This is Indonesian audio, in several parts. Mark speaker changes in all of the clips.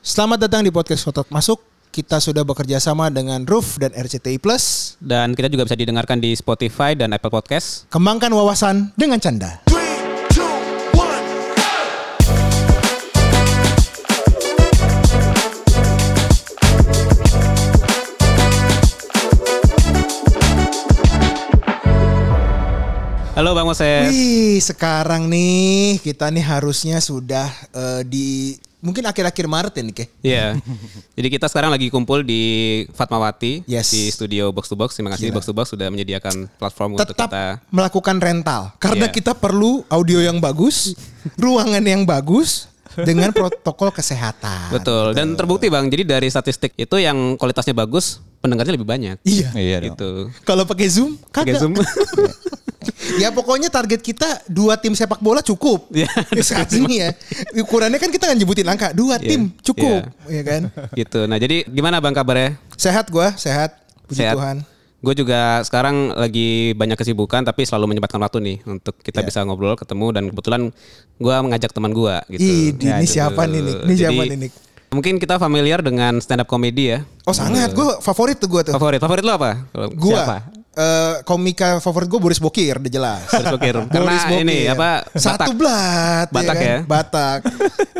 Speaker 1: Selamat datang di podcast Kotak Masuk. Kita sudah bekerja sama dengan Roof dan RCTI Plus.
Speaker 2: Dan kita juga bisa didengarkan di Spotify dan Apple Podcast.
Speaker 1: Kembangkan wawasan dengan canda.
Speaker 3: Three, two, one.
Speaker 2: Halo Bang Moses.
Speaker 1: Wih, sekarang nih kita nih harusnya sudah eh, di mungkin akhir-akhir Maret ya nih, Ke.
Speaker 2: Iya. Jadi kita sekarang lagi kumpul di Fatmawati
Speaker 1: Yes.
Speaker 2: di studio Box to Box. Terima kasih Box to Box sudah menyediakan platform untuk
Speaker 1: Tetap
Speaker 2: kita.
Speaker 1: melakukan rental karena
Speaker 2: Iya.
Speaker 1: kita perlu audio yang bagus, ruangan yang bagus dengan protokol kesehatan.
Speaker 2: Betul. Dan terbukti Bang. Jadi dari statistik itu yang kualitasnya bagus, pendengarnya lebih banyak.
Speaker 1: Iya.
Speaker 4: Iya dong.
Speaker 2: Gitu.
Speaker 1: Kalau pakai Zoom,
Speaker 2: Pakai
Speaker 1: kagak.
Speaker 2: Zoom.
Speaker 1: ya pokoknya target kita dua tim sepak bola cukup.
Speaker 2: Iya.
Speaker 1: Saat ini ya. Ukurannya kan kita nggak nyebutin angka. Dua
Speaker 2: Iya.
Speaker 1: tim cukup. Iya kan?
Speaker 2: gitu. Nah, jadi gimana Bang kabarnya?
Speaker 1: Sehat gua, sehat. Puji
Speaker 2: Sehat?
Speaker 1: Tuhan.
Speaker 2: Gue juga sekarang lagi banyak kesibukan tapi selalu menyempatkan waktu nih untuk
Speaker 1: Iya.
Speaker 2: kita bisa ngobrol, ketemu dan kebetulan gue mengajak teman gue gitu.
Speaker 1: Ih, di- ini
Speaker 2: gitu.
Speaker 1: siapa nih, Nick? Ini
Speaker 2: Jadi,
Speaker 1: siapa nih, Nick?
Speaker 2: Mungkin kita familiar dengan stand up comedy ya.
Speaker 1: Oh sangat, gua favorit tuh gua tuh.
Speaker 2: Favorit, favorit lo apa?
Speaker 1: Gua
Speaker 2: Siapa?
Speaker 1: eh, komika favorit gua Boris Bokir, udah jelas.
Speaker 2: Boris Bokir. Karena
Speaker 1: Boris Bokir.
Speaker 2: ini apa?
Speaker 1: Satu
Speaker 2: Batak.
Speaker 1: blat,
Speaker 2: Batak ya.
Speaker 1: Batak,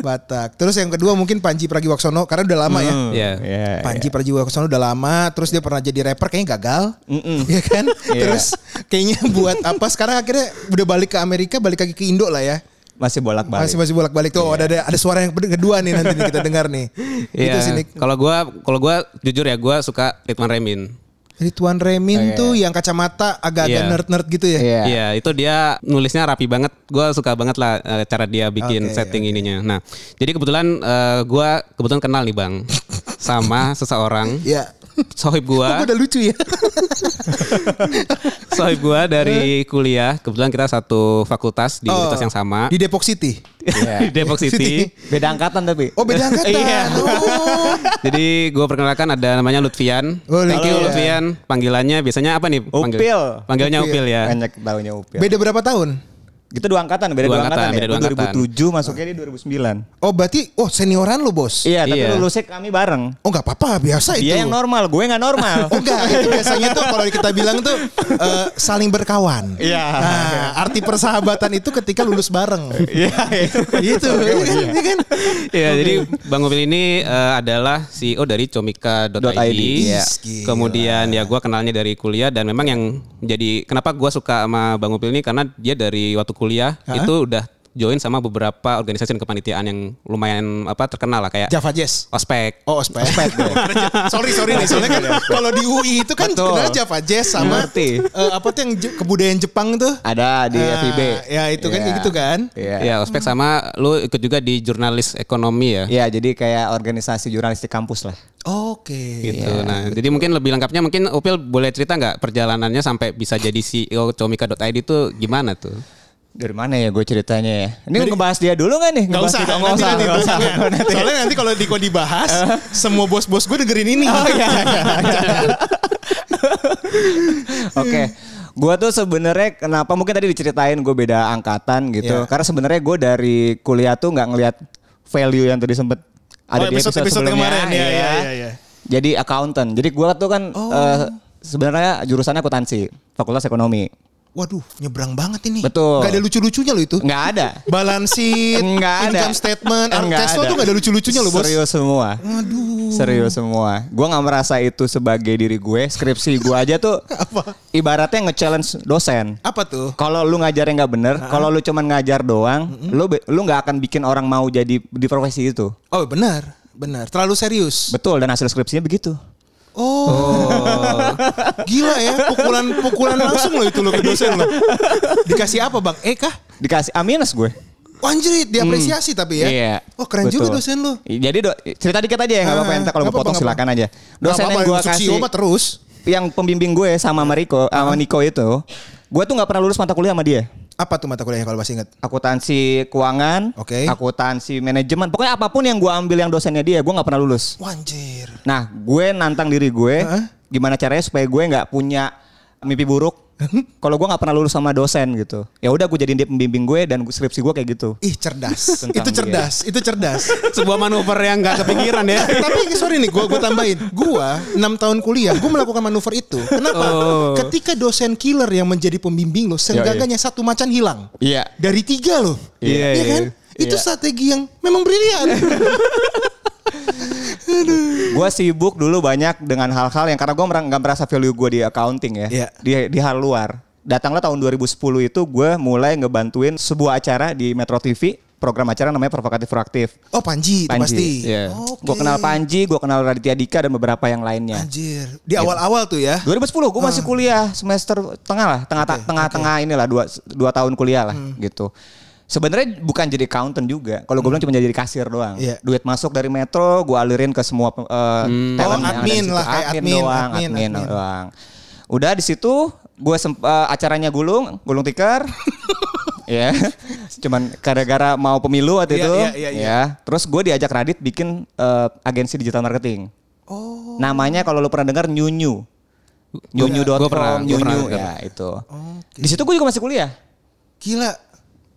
Speaker 1: Batak. Terus yang kedua mungkin Panji Pragiwaksono karena udah lama ya.
Speaker 2: Iya.
Speaker 4: Iya,
Speaker 1: Panji Pragiwaksono udah lama, terus dia pernah jadi rapper kayaknya gagal, ya kan?
Speaker 4: Iya.
Speaker 1: Terus kayaknya buat apa? Sekarang akhirnya udah balik ke Amerika, balik lagi ke Indo lah ya.
Speaker 4: Masih bolak-balik.
Speaker 1: Masih masih bolak-balik tuh. Oh, Ada ada ada suara yang kedua nih nanti nih kita dengar nih. Itu
Speaker 2: Iya.
Speaker 1: Gitu sih Nick.
Speaker 2: Kalau gue, kalau gue jujur ya gue suka Ridwan Remin.
Speaker 1: Rituan Remin tuh yang kacamata agak-agak
Speaker 2: Iya.
Speaker 1: nerd-nerd gitu ya.
Speaker 4: Oh, Iya.
Speaker 2: Iya, itu dia nulisnya rapi banget. Gue suka banget lah eh, cara dia
Speaker 1: Oke,
Speaker 2: bikin setting ininya. Nah, jadi kebetulan eh, gua gue kebetulan kenal nih bang sama seseorang
Speaker 1: Iya.
Speaker 2: sohib
Speaker 1: Kok
Speaker 2: gua
Speaker 1: udah lucu ya?
Speaker 2: sohib gua dari kuliah. Kebetulan kita satu fakultas di
Speaker 1: Iya. Oh,
Speaker 2: universitas yang sama
Speaker 1: Di Depok City.
Speaker 2: di Depok City.
Speaker 4: Beda angkatan tapi.
Speaker 1: Oh beda angkatan.
Speaker 2: Iya.
Speaker 1: Oh.
Speaker 2: Jadi gue perkenalkan ada namanya Lutfian.
Speaker 1: Oh,
Speaker 2: Thank you
Speaker 1: Lutfian.
Speaker 2: Lutfian. Panggilannya biasanya apa nih? Oh, Panggil-
Speaker 4: Upil.
Speaker 2: Panggilannya Upil, ya.
Speaker 4: Banyak tahunya Upil.
Speaker 1: Beda berapa tahun?
Speaker 4: Kita dua angkatan,
Speaker 2: Dua
Speaker 4: beda dua,
Speaker 2: angkatan,
Speaker 4: angkatan,
Speaker 2: beda
Speaker 4: ya.
Speaker 2: dua
Speaker 4: Gua
Speaker 2: angkatan.
Speaker 4: 2007 masuknya di 2009.
Speaker 1: Oh berarti oh senioran lu bos.
Speaker 4: Iya, tapi
Speaker 2: Iya.
Speaker 4: lulusnya kami bareng.
Speaker 1: Oh nggak apa-apa biasa itu.
Speaker 4: Dia yang normal, gue nggak normal.
Speaker 1: Oh enggak, itu biasanya tuh kalau kita bilang tuh eh, saling berkawan.
Speaker 4: Iya.
Speaker 1: Nah, arti persahabatan itu ketika lulus bareng.
Speaker 4: Iya, itu.
Speaker 1: itu, iya kan? Iya kan?
Speaker 2: Ya, jadi Bang Upil ini eh, adalah CEO dari comika.id.
Speaker 4: .id, iya.
Speaker 1: Gila.
Speaker 2: Kemudian ya gua kenalnya dari kuliah dan memang yang jadi kenapa gua suka sama Bang Upil ini karena dia dari waktu kuliah itu udah join sama beberapa organisasi dan kepanitiaan yang lumayan apa terkenal lah kayak
Speaker 1: Java Jazz.
Speaker 2: Ospek.
Speaker 1: Oh, ospek. sorry, sorry nih. Soalnya kan kalau di UI itu kan
Speaker 4: Betul.
Speaker 1: kenal Java Jazz sama
Speaker 4: Ngerti.
Speaker 1: eh, apa tuh yang Je- kebudayaan Jepang tuh.
Speaker 4: Ada di
Speaker 1: Ah,
Speaker 4: FIB.
Speaker 1: ya, itu kan kayak gitu kan.
Speaker 4: Iya.
Speaker 2: Ya, Ospek sama lu ikut juga di jurnalis ekonomi ya.
Speaker 4: Iya, jadi kayak organisasi jurnalistik kampus lah.
Speaker 1: Oke.
Speaker 2: gitu. nah, jadi mungkin lebih lengkapnya mungkin Upil boleh cerita nggak perjalanannya sampai bisa jadi E CEO comika.id itu gimana tuh?
Speaker 4: Dari mana ya gue ceritanya ya? Ini ngebahas dia dulu nggak nih?
Speaker 1: Gak
Speaker 4: Ngebahas
Speaker 1: usah,
Speaker 4: kita-
Speaker 1: nanti, nanti,
Speaker 4: nggak usah.
Speaker 1: nanti. Soalnya nanti kalau di kalau dibahas, semua bos-bos gue dengerin ini. Oh iya.
Speaker 4: Oke. Gua tuh sebenarnya kenapa mungkin tadi diceritain gue beda angkatan
Speaker 1: Iya.
Speaker 4: gitu. Karena sebenarnya gue dari kuliah tuh nggak ngelihat value yang tadi sempet
Speaker 1: Oh,
Speaker 4: ada di episode,
Speaker 1: episode-episode
Speaker 4: sebelumnya.
Speaker 1: kemarin. Iya,
Speaker 4: Iya.
Speaker 1: iya, iya, Oh. iya.
Speaker 4: Jadi accountant. Jadi gue tuh kan eh, sebenarnya jurusannya akuntansi, fakultas ekonomi.
Speaker 1: Waduh, nyebrang banget ini.
Speaker 4: Betul.
Speaker 1: Gak ada lucu-lucunya loh itu.
Speaker 4: Nggak ada.
Speaker 1: balance sheet,
Speaker 4: Nggak ada.
Speaker 1: income statement,
Speaker 4: Nggak
Speaker 1: cash flow tuh nggak ada lucu-lucunya loh bos.
Speaker 4: Serius semua. Aduh. Serius semua. Gue nggak merasa itu sebagai diri gue. Skripsi gue aja tuh
Speaker 1: Apa?
Speaker 4: ibaratnya nge-challenge dosen.
Speaker 1: Apa tuh?
Speaker 4: Kalau lu ngajarnya nggak bener, kalau lu cuman ngajar doang, lu be- lu nggak akan bikin orang mau jadi di profesi itu.
Speaker 1: Oh benar, benar. Terlalu serius.
Speaker 4: Betul dan hasil skripsinya begitu.
Speaker 1: Oh, gila ya pukulan pukulan langsung loh itu lo ke dosen lo. Dikasih apa bang? Eh kah? Oh,
Speaker 4: Dikasih A minus gue.
Speaker 1: Anjrit, diapresiasi tapi ya. Oh keren juga
Speaker 4: Hmm. Iya, Betul.
Speaker 1: dosen lo.
Speaker 4: Jadi do, cerita dikit aja ya nggak apa-apa
Speaker 1: Ah,
Speaker 4: entar kalau
Speaker 1: nggak
Speaker 4: gue potong
Speaker 1: apa-apa,
Speaker 4: silakan aja.
Speaker 1: Gak
Speaker 4: Dosen yang
Speaker 1: apa-apa,
Speaker 4: gue
Speaker 1: masuk
Speaker 4: kasih
Speaker 1: Sio mah terus.
Speaker 4: yang pembimbing gue sama Mariko, sama Niko itu, gue tuh nggak pernah lulus mata kuliah sama dia.
Speaker 1: Apa tuh mata kuliahnya kalau masih ingat?
Speaker 4: Akuntansi keuangan,
Speaker 1: Oke.
Speaker 4: akuntansi manajemen, pokoknya apapun yang gue ambil yang dosennya dia, gue nggak pernah lulus.
Speaker 1: Wanjir.
Speaker 4: Nah, gue nantang diri gue,
Speaker 1: Heeh.
Speaker 4: gimana caranya supaya gue nggak punya mimpi buruk Kalau gue nggak pernah lulus sama dosen gitu, ya udah gue jadiin dia pembimbing gue dan gua- skripsi gue kayak gitu.
Speaker 1: Ih cerdas.
Speaker 4: Tentang
Speaker 1: itu
Speaker 4: dia.
Speaker 1: cerdas, itu cerdas.
Speaker 2: Sebuah manuver yang nggak kepikiran ya.
Speaker 1: Tapi sorry nih, gue gua tambahin, gue 6 tahun kuliah, gue melakukan manuver itu. Kenapa?
Speaker 2: Oh.
Speaker 1: Ketika dosen killer yang menjadi pembimbing lo, seenggaknya satu macan hilang.
Speaker 4: Iya.
Speaker 1: Dari tiga loh,
Speaker 4: Iya,
Speaker 1: Iya kan?
Speaker 4: iya.
Speaker 1: Itu
Speaker 4: Iya.
Speaker 1: strategi yang memang brilian.
Speaker 4: Gue sibuk dulu banyak dengan hal-hal yang karena gue nggak merasa value gue di accounting ya,
Speaker 1: Iya.
Speaker 4: di di hal luar. Datanglah tahun 2010 itu gue mulai ngebantuin sebuah acara di Metro TV, program acara namanya Provokatif Proaktif.
Speaker 1: Oh Panji, itu pasti.
Speaker 4: Iya.
Speaker 1: Oke.
Speaker 4: Gue kenal Panji, gue kenal Raditya Dika dan beberapa yang lainnya.
Speaker 1: Anjir, di awal-awal tuh ya.
Speaker 4: 2010 gue masih kuliah semester tengah lah, tengah ta- tengah-tengah inilah dua dua tahun kuliah lah
Speaker 1: Hmm.
Speaker 4: gitu. Sebenarnya bukan jadi accountant juga. Kalau gue bilang cuma jadi kasir doang.
Speaker 1: Hmm. Iya.
Speaker 4: Duit masuk dari Metro gue alirin ke semua eh, talent
Speaker 1: Oh,
Speaker 4: yang ada di
Speaker 1: admin
Speaker 4: situ.
Speaker 1: lah, kayak
Speaker 4: admin,
Speaker 1: admin,
Speaker 4: doang,
Speaker 1: admin,
Speaker 4: admin,
Speaker 1: admin.
Speaker 4: doang. Udah di situ gue acaranya gulung, gulung tikar. Ya, cuman gara-gara mau pemilu waktu
Speaker 1: Iya,
Speaker 4: itu,
Speaker 1: iya, iya, iya.
Speaker 4: ya. Terus gue diajak Radit bikin eh, agensi digital marketing.
Speaker 1: Oh.
Speaker 4: Namanya kalau lu pernah dengar New New. New New
Speaker 2: Gua pernah- gua pernah dengar.
Speaker 4: ya itu.
Speaker 1: Oke.
Speaker 4: Di situ gue juga masih kuliah.
Speaker 1: Gila,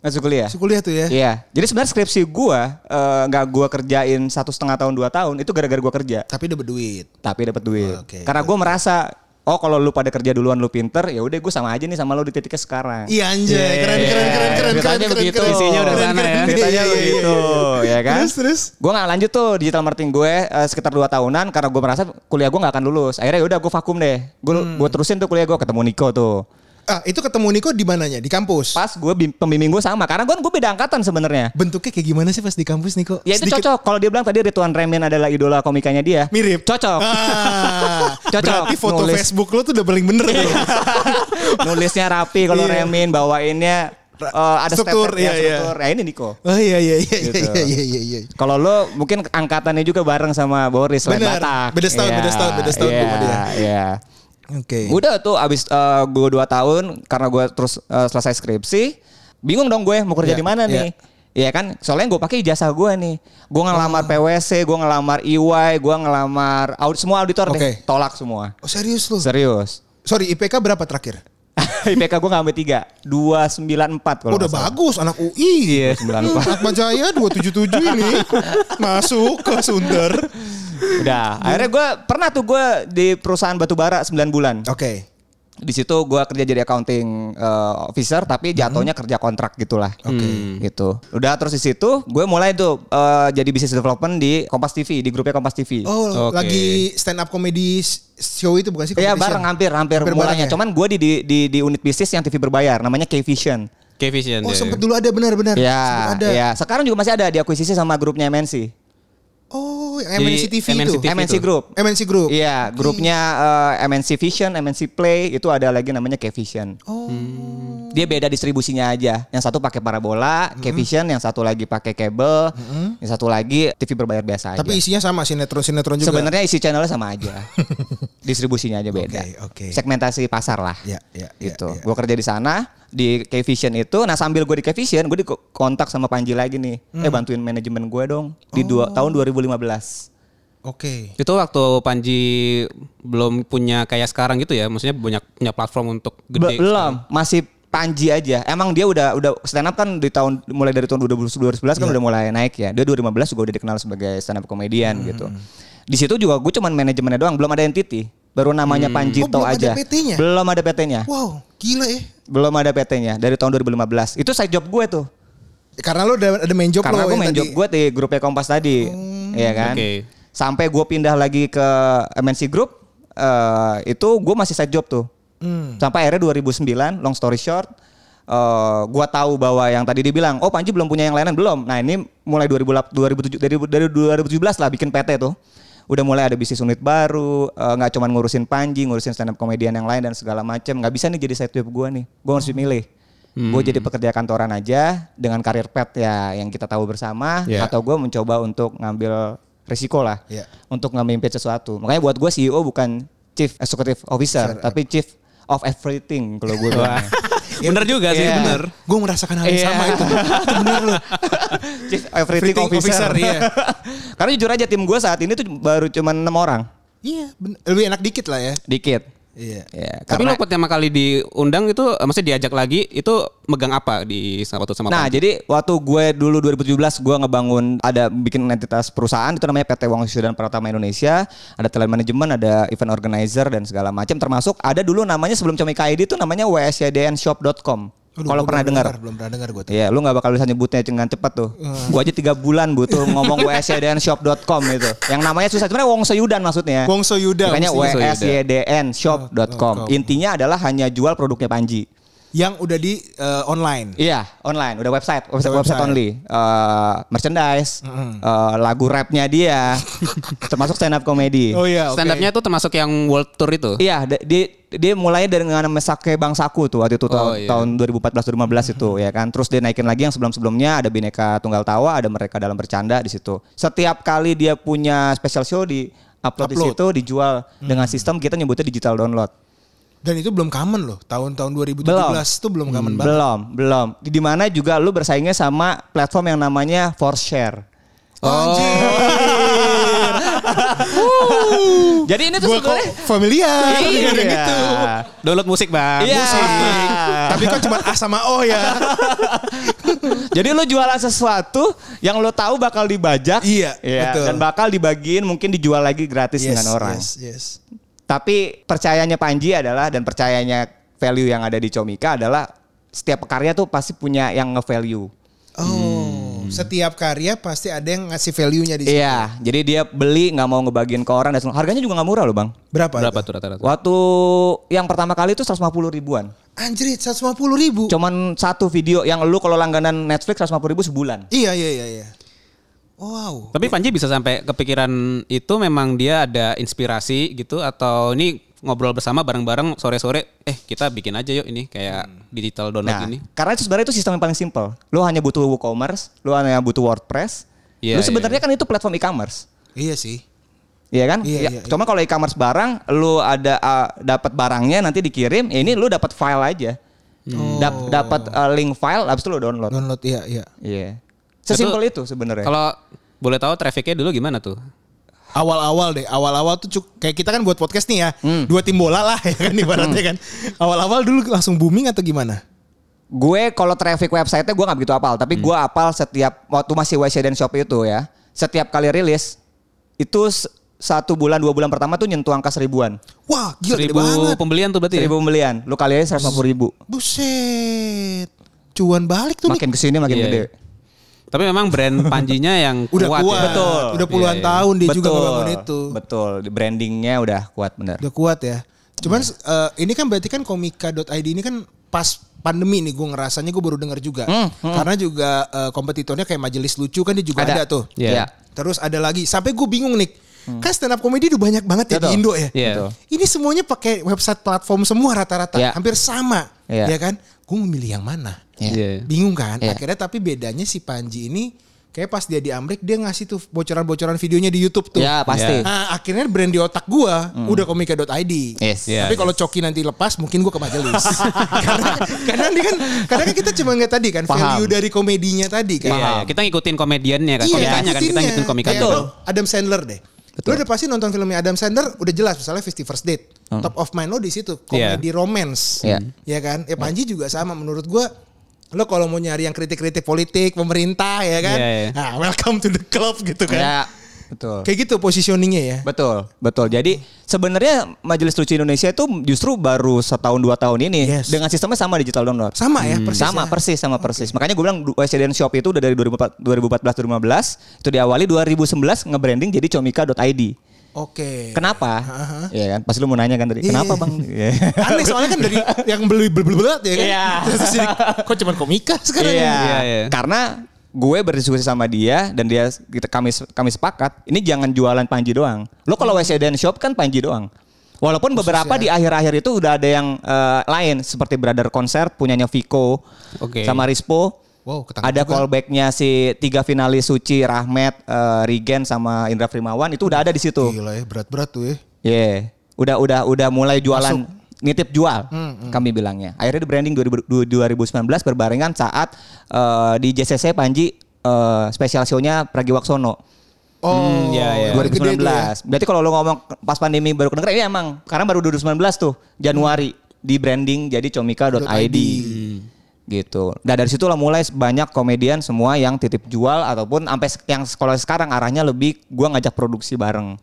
Speaker 4: Masih kuliah.
Speaker 1: masih kuliah tuh ya.
Speaker 4: Iya. Jadi sebenarnya skripsi gue eh, nggak gue kerjain satu setengah tahun dua tahun itu gara-gara gue kerja.
Speaker 1: Tapi udah berduit.
Speaker 4: Tapi dapat duit.
Speaker 1: Oke.
Speaker 4: Karena gue merasa oh kalau lu pada kerja duluan lu pinter ya udah gue sama aja nih sama lu di titiknya sekarang.
Speaker 1: Iya anjay, keren keren keren keren keren
Speaker 2: Ceritanya
Speaker 1: keren.
Speaker 2: begitu,
Speaker 1: keren.
Speaker 2: isinya udah
Speaker 1: Keren,
Speaker 2: sana
Speaker 1: keren.
Speaker 2: ya.
Speaker 4: Ceritanya
Speaker 1: Iya, iya, iya,
Speaker 4: begitu, ya kan?
Speaker 1: Terus terus.
Speaker 4: Gue nggak lanjut tuh digital marketing gue eh, sekitar 2 tahunan karena gue merasa kuliah gue nggak akan lulus. Akhirnya yaudah gue vakum deh. Gue
Speaker 1: Hmm.
Speaker 4: gue terusin tuh kuliah gue ketemu Niko tuh.
Speaker 1: Ah, itu ketemu Niko di mananya? Di kampus.
Speaker 4: Pas gue bim- pembimbing gue sama karena gue gue beda angkatan sebenarnya.
Speaker 1: Bentuknya kayak gimana sih pas di kampus Niko?
Speaker 4: Ya itu
Speaker 1: Sedikit-
Speaker 4: cocok. Kalau dia bilang tadi Rituan Remin adalah idola komikanya dia.
Speaker 1: Mirip.
Speaker 4: Cocok.
Speaker 1: Ah,
Speaker 4: Cocok.
Speaker 1: Berarti foto
Speaker 4: Nulis. Iya.
Speaker 1: Facebook lo tuh udah paling bener tuh.
Speaker 4: Nulisnya rapi kalau
Speaker 1: Iya.
Speaker 4: Remin bawainnya eh, ada
Speaker 1: Struktur,
Speaker 4: step-stepnya,
Speaker 1: iya, iya.
Speaker 4: struktur. Ya ini Niko.
Speaker 1: Oh iya iya iya
Speaker 4: Gitu.
Speaker 1: iya iya iya iya.
Speaker 4: Kalau lo mungkin angkatannya juga bareng sama Boris Lain
Speaker 1: Benar.
Speaker 4: Batak.
Speaker 1: Beda setahun,
Speaker 4: Iya,
Speaker 1: beda setahun, beda setahun
Speaker 4: iya,
Speaker 1: sama dia.
Speaker 4: Iya.
Speaker 1: Oke.
Speaker 4: Udah tuh abis eh, gue 2 tahun karena gue terus eh, selesai skripsi, bingung dong gue mau kerja
Speaker 1: Iya,
Speaker 4: di mana
Speaker 1: iya.
Speaker 4: nih. Iya kan, soalnya gue pakai ijazah gue nih. Gue
Speaker 1: Oh.
Speaker 4: ngelamar PwC, gue ngelamar EY, gue ngelamar audit semua auditor
Speaker 1: Oke.
Speaker 4: deh, tolak semua.
Speaker 1: Oh serius lo?
Speaker 4: Serius.
Speaker 1: Sorry IPK berapa terakhir?
Speaker 4: IPK gue ngambil 3, 294
Speaker 1: Oh,
Speaker 4: kalau
Speaker 1: udah
Speaker 4: nggak salah.
Speaker 1: bagus anak UI.
Speaker 4: Iya, 94.
Speaker 1: Atma Jaya 277 ini masuk ke Sunter.
Speaker 4: Udah, akhirnya gue pernah tuh gue di perusahaan batubara 9 bulan.
Speaker 1: Oke.
Speaker 4: di situ gue kerja jadi accounting uh, officer
Speaker 1: Mm-hmm.
Speaker 4: tapi jatuhnya kerja kontrak gitulah gitu udah terus di situ gue mulai tuh uh, jadi business development di Kompas TV di grupnya Kompas TV
Speaker 1: Oh,
Speaker 2: Oke.
Speaker 1: lagi stand up comedy show itu bukan sih?
Speaker 4: Iya
Speaker 1: competition?
Speaker 4: bareng hampir hampir,
Speaker 1: Hampir bareng
Speaker 4: mulainya.
Speaker 1: ya?
Speaker 4: Cuman gue di, di di di unit bisnis yang TV berbayar namanya K Vision.
Speaker 2: Kevision.
Speaker 1: Oh, sempet dulu ada benar-benar. Sempet
Speaker 4: Iya,
Speaker 1: ada.
Speaker 4: iya. Sekarang juga masih ada diakuisisi sama grupnya MNC.
Speaker 1: Oh, yang
Speaker 2: Jadi,
Speaker 1: MNC TV
Speaker 2: MNC
Speaker 1: itu.
Speaker 2: TV.
Speaker 4: MNC
Speaker 2: tuh.
Speaker 4: Group.
Speaker 1: MNC Group.
Speaker 4: Iya, grupnya eh, MNC Vision, MNC Play itu ada lagi namanya K-Vision.
Speaker 1: Oh.
Speaker 4: Dia beda distribusinya aja. Yang satu pakai parabola,
Speaker 1: Hmm.
Speaker 4: K-Vision, yang satu lagi pakai kabel, yang satu lagi TV berbayar biasa
Speaker 1: Tapi
Speaker 4: aja.
Speaker 1: isinya sama sinetron-sinetron juga.
Speaker 4: Sebenarnya isi channelnya sama aja. Distribusinya aja beda.
Speaker 1: Oke, oke.
Speaker 4: Segmentasi pasar lah.
Speaker 1: Ya, ya, ya,
Speaker 4: gitu.
Speaker 1: ya.
Speaker 4: Gue kerja di sana di K-Vision itu. Nah, sambil gue di K-Vision, gue dikontak sama Panji lagi nih. Eh
Speaker 1: Hmm.
Speaker 4: bantuin manajemen gue dong di
Speaker 1: Oh.
Speaker 4: dua, tahun 2015.
Speaker 1: Oke.
Speaker 2: Itu waktu Panji belum punya kayak sekarang gitu ya, maksudnya banyak punya platform untuk gede.
Speaker 4: belum masih Panji aja. Emang dia udah udah stand up kan di tahun mulai dari tahun 2011
Speaker 1: Iya.
Speaker 4: kan udah mulai naik ya. Dia 2015 juga udah dikenal sebagai stand up komedian
Speaker 1: Hmm.
Speaker 4: gitu. Di situ juga gue cuman manajemennya doang, belum ada entity. Baru namanya
Speaker 1: Oh,
Speaker 4: Panjito
Speaker 1: belum ada
Speaker 4: aja.
Speaker 1: PT-nya?
Speaker 4: Belum ada PT-nya.
Speaker 1: Wow, gila ya.
Speaker 4: Belum ada PT-nya dari tahun 2015. Itu side job gue tuh.
Speaker 1: Karena lo ada, ada main job
Speaker 4: Karena
Speaker 1: lo
Speaker 4: gue
Speaker 1: yang
Speaker 4: main
Speaker 1: tadi. Hmm.
Speaker 4: job gue di grupnya Kompas tadi. Iya kan?
Speaker 2: Oke.
Speaker 4: Sampai gue pindah lagi ke MNC Group, eh, itu gue masih side job tuh. Sampai akhirnya 2009, long story short, eh, gue tahu bahwa yang tadi dibilang, oh Panji belum punya yang lainan belum. Nah ini mulai 2008 2007 dari dari 2017 lah bikin PT tuh. Udah mulai ada bisnis unit baru, eh, nggak cuman ngurusin Panji, ngurusin stand up komedian yang lain dan segala macem. Nggak bisa nih jadi side job gue nih. Gue harus milih. Gue jadi pekerja kantoran aja dengan karir pet ya yang kita tahu bersama
Speaker 2: Iya.
Speaker 4: atau gue mencoba untuk ngambil risiko lah
Speaker 1: Iya.
Speaker 4: untuk ngemimpi sesuatu. Makanya buat gue CEO bukan Chief Executive Officer, tapi Chief of Everything kalau gue bilang.
Speaker 2: Bener juga sih,
Speaker 4: Iya.
Speaker 2: bener.
Speaker 1: Gue merasakan hal yang
Speaker 4: Iya.
Speaker 1: sama itu. itu bener lo.
Speaker 4: Chief Everything,
Speaker 1: Everything
Speaker 4: Officer.
Speaker 1: Officer, iya.
Speaker 4: Karena jujur aja tim gue saat ini tuh baru cuman enam orang,
Speaker 1: Iya, ben- lebih enak dikit lah ya.
Speaker 4: dikit.
Speaker 1: Iya.
Speaker 4: Ya,
Speaker 2: Tapi lo
Speaker 4: karena-
Speaker 2: pertama kali diundang itu, eh, maksudnya diajak lagi itu megang apa di sama waktu sama
Speaker 4: Nah,
Speaker 2: Panji?
Speaker 4: jadi waktu gue dulu 2017 gue ngebangun ada bikin entitas perusahaan itu namanya PT Wong dan Pratama Indonesia, ada talent management, ada event organizer dan segala macam termasuk ada dulu namanya sebelum Comika ID itu namanya wsydnshop.com.
Speaker 1: Aduh,
Speaker 4: Kalau
Speaker 1: gua
Speaker 4: pernah dengar.
Speaker 1: Belum pernah dengar Eh. gue.
Speaker 4: Iya, lu nggak bakal bisa nyebutnya dengan cepat tuh. Gue aja tiga bulan butuh ngomong wsydnshop.com itu. gitu. Yang namanya susah, sebenarnya Wong Soyudan maksudnya.
Speaker 1: Wong Soyudan.
Speaker 4: Makanya
Speaker 1: Wong
Speaker 2: Soyudan.
Speaker 4: wsydnshop.com. Intinya adalah hanya jual produknya Panji.
Speaker 1: Yang udah di eh, online.
Speaker 4: Iya, online, udah website, website,
Speaker 1: Udah
Speaker 4: website
Speaker 1: website.
Speaker 4: only, Eh, merchandise, eh, lagu rapnya dia, termasuk stand up comedy.
Speaker 1: Oh iya. oke.
Speaker 2: stand up-nya itu termasuk yang world tour itu.
Speaker 4: Iya, da- dia dia mulai dari dengan Mesake Bangsaku tuh waktu itu
Speaker 1: Oh,
Speaker 4: tahun,
Speaker 2: iya.
Speaker 4: tahun 2014-2015 itu ya kan. Terus dia naikin lagi yang sebelum-sebelumnya ada Bineka Tunggal Tawa, ada mereka dalam bercanda di situ. Setiap kali dia punya special show di
Speaker 1: Upload.
Speaker 4: upload, di
Speaker 1: Mm.
Speaker 4: situ dijual dengan sistem kita nyebutnya digital download.
Speaker 1: Dan itu belum common loh. Tahun-tahun 2017 itu belum common
Speaker 4: Hmm,
Speaker 1: banget.
Speaker 4: Belum, belum. Di di mana juga lu bersaingnya sama platform yang namanya Forshare. Oh. Jadi ini tuh
Speaker 1: Gue kok
Speaker 4: sebenarnya
Speaker 1: familiar
Speaker 4: Iya.
Speaker 1: dengan yang itu.
Speaker 2: Download musik bang.
Speaker 4: Iya.
Speaker 2: Musik.
Speaker 1: Tapi kan cuma A sama O ya.
Speaker 4: Jadi lu jualan sesuatu yang lu tahu bakal dibajak.
Speaker 1: Iya,
Speaker 4: Iya,
Speaker 1: betul.
Speaker 4: Dan bakal dibagiin mungkin dijual lagi gratis dengan orang.
Speaker 1: Yes, yes.
Speaker 4: Tapi percayanya Panji adalah dan percayanya value yang ada di Comika adalah setiap pekarya tuh pasti punya yang nge-value.
Speaker 2: Hmm.
Speaker 1: Oh, setiap karya pasti ada yang ngasih value-nya di situ.
Speaker 4: Iya, jadi dia beli nggak mau ngebagiin ke orang dan segala- harganya juga nggak murah loh bang.
Speaker 1: Berapa?
Speaker 2: Berapa
Speaker 1: itu?
Speaker 2: tuh rata-rata?
Speaker 4: Waktu yang pertama kali itu 150 ribuan.
Speaker 1: Anjir, 150 ribu.
Speaker 4: Cuman satu video yang lu kalau langganan Netflix 150 ribu sebulan.
Speaker 1: Iya, iya, iya, iya. Wow.
Speaker 2: Tapi Panji bisa sampai kepikiran itu memang dia ada inspirasi gitu atau ini ngobrol bersama bareng-bareng sore-sore eh kita bikin aja yuk ini kayak digital download
Speaker 1: Ah.
Speaker 4: Nah,
Speaker 2: ini.
Speaker 4: karena itu sebenarnya itu sistem yang paling simpel. Lu hanya butuh WooCommerce, lu hanya butuh WordPress.
Speaker 2: Iya,
Speaker 4: lu sebenarnya kan itu platform e-commerce.
Speaker 1: Iya sih.
Speaker 4: Iya kan?
Speaker 1: Iya,
Speaker 4: Ya,
Speaker 1: iya,
Speaker 4: Cuma kalau e-commerce barang, lu ada uh, dapat barangnya nanti dikirim, ya ini lu dapat file aja.
Speaker 1: Hmm. Oh.
Speaker 4: Dap- dapat uh, link file habis itu lu download.
Speaker 1: Download, iya, iya.
Speaker 4: Iya. Sesimpel itu sebenarnya.
Speaker 2: Kalau boleh tahu trafficnya dulu gimana tuh?
Speaker 1: Awal-awal deh, awal-awal tuh cuk- kayak kita kan buat podcast nih ya,
Speaker 2: Hmm.
Speaker 1: dua tim bola lah ya kan ibaratnya kan. Awal-awal dulu langsung booming atau gimana?
Speaker 4: Gue kalau traffic website-nya gue nggak begitu apal, tapi
Speaker 2: Hmm.
Speaker 4: gue apal setiap waktu masih WC dan Shop itu ya. Setiap kali rilis itu s- satu bulan dua bulan pertama tuh nyentuh angka seribuan,
Speaker 1: Wah, gila Iya, gede
Speaker 2: Seribu
Speaker 1: banget.
Speaker 2: pembelian tuh berarti. ya?
Speaker 4: seribu pembelian. Lu kali aja seratus ribu.
Speaker 1: Buset. Cuan balik tuh nih.
Speaker 4: Makin kesini makin
Speaker 2: Iya,
Speaker 4: gede.
Speaker 2: iya. Tapi memang brand Panjinya yang
Speaker 1: Udah
Speaker 2: kuat.
Speaker 1: kuat.
Speaker 2: ya.
Speaker 4: Betul.
Speaker 1: Udah puluhan
Speaker 2: Iya, iya.
Speaker 1: tahun dia juga ngebangun itu.
Speaker 4: Betul. Di Brandingnya udah kuat bener.
Speaker 1: Udah kuat ya. Cuman eh, ini kan berarti kan komika.id ini kan pas pandemi nih gue ngerasanya gue baru dengar juga. Karena juga eh, kompetitornya kayak majelis lucu kan dia juga ada, tuh.
Speaker 2: Iya.
Speaker 4: Iya.
Speaker 1: Terus ada lagi. Sampai gue bingung nih. Kan stand up comedy udah banyak banget ya di
Speaker 4: Betul.
Speaker 1: Indo ya.
Speaker 2: Iya.
Speaker 4: Betul.
Speaker 1: Ini semuanya pakai website platform semua rata-rata.
Speaker 4: Iya.
Speaker 1: Hampir sama.
Speaker 4: Iya.
Speaker 1: Ya kan? Gue memilih yang mana?
Speaker 4: Iya.
Speaker 2: Iya.
Speaker 1: Bingung kan?
Speaker 4: Iya.
Speaker 1: Akhirnya tapi bedanya si Panji ini kayak pas dia di Amrik dia ngasih tuh bocoran-bocoran videonya di YouTube tuh.
Speaker 4: Ya
Speaker 2: Iya.
Speaker 4: pasti.
Speaker 1: Nah, akhirnya brand di otak gua
Speaker 2: Hmm.
Speaker 1: udah komika.id.
Speaker 4: Yes.
Speaker 2: Iya.
Speaker 1: Tapi kalau Coki nanti lepas mungkin gua ke majelis. karena karena ini kan karena kan kita cuma nggak tadi kan
Speaker 4: Paham.
Speaker 1: value dari komedinya tadi kan.
Speaker 2: Iya, iya. kita ngikutin komediannya
Speaker 1: Iya.
Speaker 2: kan, komikanya kan, kita
Speaker 1: ngikutinnya.
Speaker 2: ngikutin komikanya.
Speaker 1: Kayak lo Adam Sandler deh. Lo udah pasti nonton filmnya Adam Sandler udah jelas misalnya Fifty First Date.
Speaker 2: Hmm.
Speaker 1: Top of mind lo di situ komedi romance.
Speaker 4: Iya.
Speaker 1: Ya kan? Ya Panji juga sama menurut gua lo kalau mau nyari yang kritik-kritik politik pemerintah ya kan.
Speaker 2: Iya, iya.
Speaker 1: Nah, welcome to the club gitu kan.
Speaker 4: Ya, Betul.
Speaker 1: Kayak gitu positioningnya ya.
Speaker 4: Betul, betul. Jadi sebenarnya Majelis Lucu Indonesia itu justru baru setahun dua tahun ini
Speaker 1: Yes.
Speaker 4: dengan sistemnya sama digital download.
Speaker 1: Sama ya
Speaker 2: Hmm.
Speaker 1: persis.
Speaker 4: sama
Speaker 1: ya.
Speaker 4: persis sama persis. Makanya gue bilang Resident Shop itu udah dari 2004 2014 2015 itu diawali 2011 nge-branding jadi comika.id.
Speaker 1: Oke.
Speaker 4: Kenapa? Iya kan? Pasti lu mau nanya kan tadi.
Speaker 1: Iya,
Speaker 4: Kenapa,
Speaker 1: iya.
Speaker 4: Bang? Iya.
Speaker 1: Aneh soalnya kan dari yang beli beli beli belat ya kan.
Speaker 4: Iya.
Speaker 1: Terus jadi kok cuman komika sekarang.
Speaker 4: Iya.
Speaker 2: Iya, iya.
Speaker 4: Karena gue berdiskusi sama dia dan dia kita kami kami sepakat ini jangan jualan Panji doang. Lo kalau
Speaker 1: Hmm.
Speaker 4: WC dan shop kan Panji doang.
Speaker 1: ya.
Speaker 4: Walaupun beberapa di akhir-akhir itu udah ada yang eh, lain seperti Brother Concert punyanya Vico
Speaker 2: Oke.
Speaker 4: sama Rispo.
Speaker 1: Wow, ketangkep
Speaker 4: ada
Speaker 1: juga.
Speaker 4: callbacknya si tiga finalis Suci, Rahmat, eh, Regen sama Indra Primawan itu udah ada di situ.
Speaker 1: Gila ya berat-berat tuh ya.
Speaker 4: Iya, udah udah udah mulai jualan nitip jual
Speaker 1: Hmm,
Speaker 4: kami bilangnya. Akhirnya di branding 2000 du- 2019 berbarengan saat eh, di JCC Panji eh, spesial show-nya Pragiwaksono.
Speaker 1: Oh,
Speaker 2: ya, ya.
Speaker 1: baru gede
Speaker 4: 2019.
Speaker 1: tuh ya.
Speaker 4: Berarti kalau lo ngomong pas pandemi baru kedenger ya emang karena baru 2019 tuh Januari di branding jadi comika.id. Gitu. Nah dari situ lah mulai banyak komedian semua yang titip jual ataupun sampai se- yang sekolah sekarang arahnya lebih gua ngajak produksi bareng.